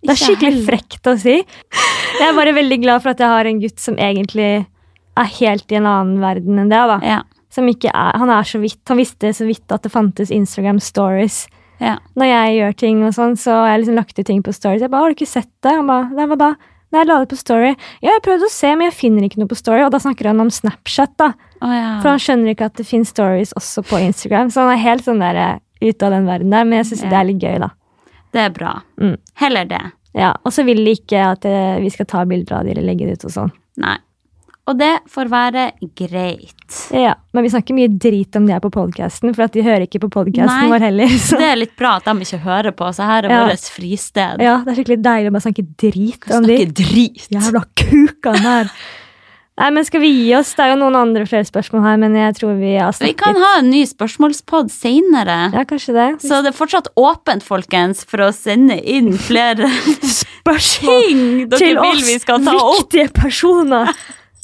Speaker 1: Det er
Speaker 2: Ikke
Speaker 1: skikkelig
Speaker 2: heller.
Speaker 1: frekt å si. Jeg er bare veldig glad for at jeg har en gutt som egentlig er helt i en annen verden enn det. da.
Speaker 2: Ja.
Speaker 1: Som ikke er, han er så vidt, han visste så vidt at det fantes Instagram stories.
Speaker 2: ja.
Speaker 1: når jeg gjør ting og sånn, så har jeg liksom lagt ut ting på stories. Jeg bare, har du ikke sett det? Han bare, nei, hva da? Nei, jeg la det på story. Ja, jeg prøvde å se, men jeg finner ikke noe på story. Og da snakker han om Snapchat, da.
Speaker 2: Å ja.
Speaker 1: For han skjønner ikke at det finnes stories også på Instagram. Så han er helt sånn der eh, ute av den verden der, men jeg syns
Speaker 2: Ja.
Speaker 1: det er litt gøy, da.
Speaker 2: Det er bra.
Speaker 1: Mm.
Speaker 2: Heller det.
Speaker 1: Ja, Og så vil de ikke at eh, vi skal ta bilder av de eller legge det ut og sånn.
Speaker 2: Nei. Og det får være greit.
Speaker 1: Ja, Men vi snakker mye drit om det her på podkasten, for at de hører ikke på podkasten
Speaker 2: Nei.
Speaker 1: vår heller. Så.
Speaker 2: Det er litt bra at de ikke hører på, så her er
Speaker 1: Ja.
Speaker 2: vårt fristed.
Speaker 1: Ja, det er skikkelig deilig å bare snakke drit om de.
Speaker 2: Snakke drit.
Speaker 1: Jævla kuk han er. Nei, men skal vi gi oss? Det er jo noen andre flere spørsmål her, men jeg tror vi har
Speaker 2: Vi
Speaker 1: snakket.
Speaker 2: kan ha en ny spørsmålspod seinere.
Speaker 1: Ja, kanskje det.
Speaker 2: Så det er fortsatt åpent, folkens, for å sende inn flere
Speaker 1: Spørsmål
Speaker 2: ting dere
Speaker 1: til
Speaker 2: vil
Speaker 1: oss,
Speaker 2: vi skal ta opp.
Speaker 1: viktige personer.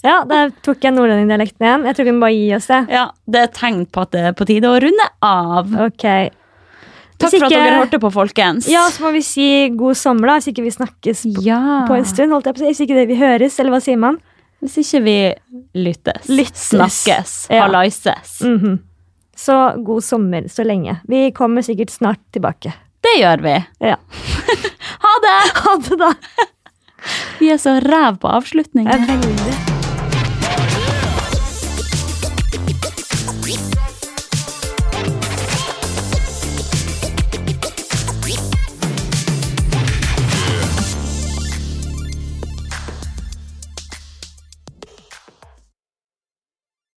Speaker 1: Ja, der tok jeg nordlendingdialekten igjen. Jeg tror vi må bare gi oss det.
Speaker 2: Ja, Det er et tegn på at det er på tide å runde av.
Speaker 1: Ok.
Speaker 2: Takk
Speaker 1: Hvis
Speaker 2: for at
Speaker 1: ikke-
Speaker 2: dere hørte på, folkens.
Speaker 1: Ja, så må vi si god sommer, da, hvis ikke vi snakkes på,
Speaker 2: Ja.
Speaker 1: på en stund. Holdt jeg på å si. Hvis ikke det vi høres, eller hva sier man?
Speaker 2: Hvis ikke vi lyttes,
Speaker 1: Lyttes.
Speaker 2: snakkes,
Speaker 1: Ja.
Speaker 2: halaises.
Speaker 1: Mhm. Så god sommer så lenge. Vi kommer sikkert snart tilbake.
Speaker 2: Det gjør vi.
Speaker 1: Ja.
Speaker 2: Ha det!
Speaker 1: Ha det, da.
Speaker 2: Vi er så ræv på avslutning.
Speaker 1: Jeg er veldig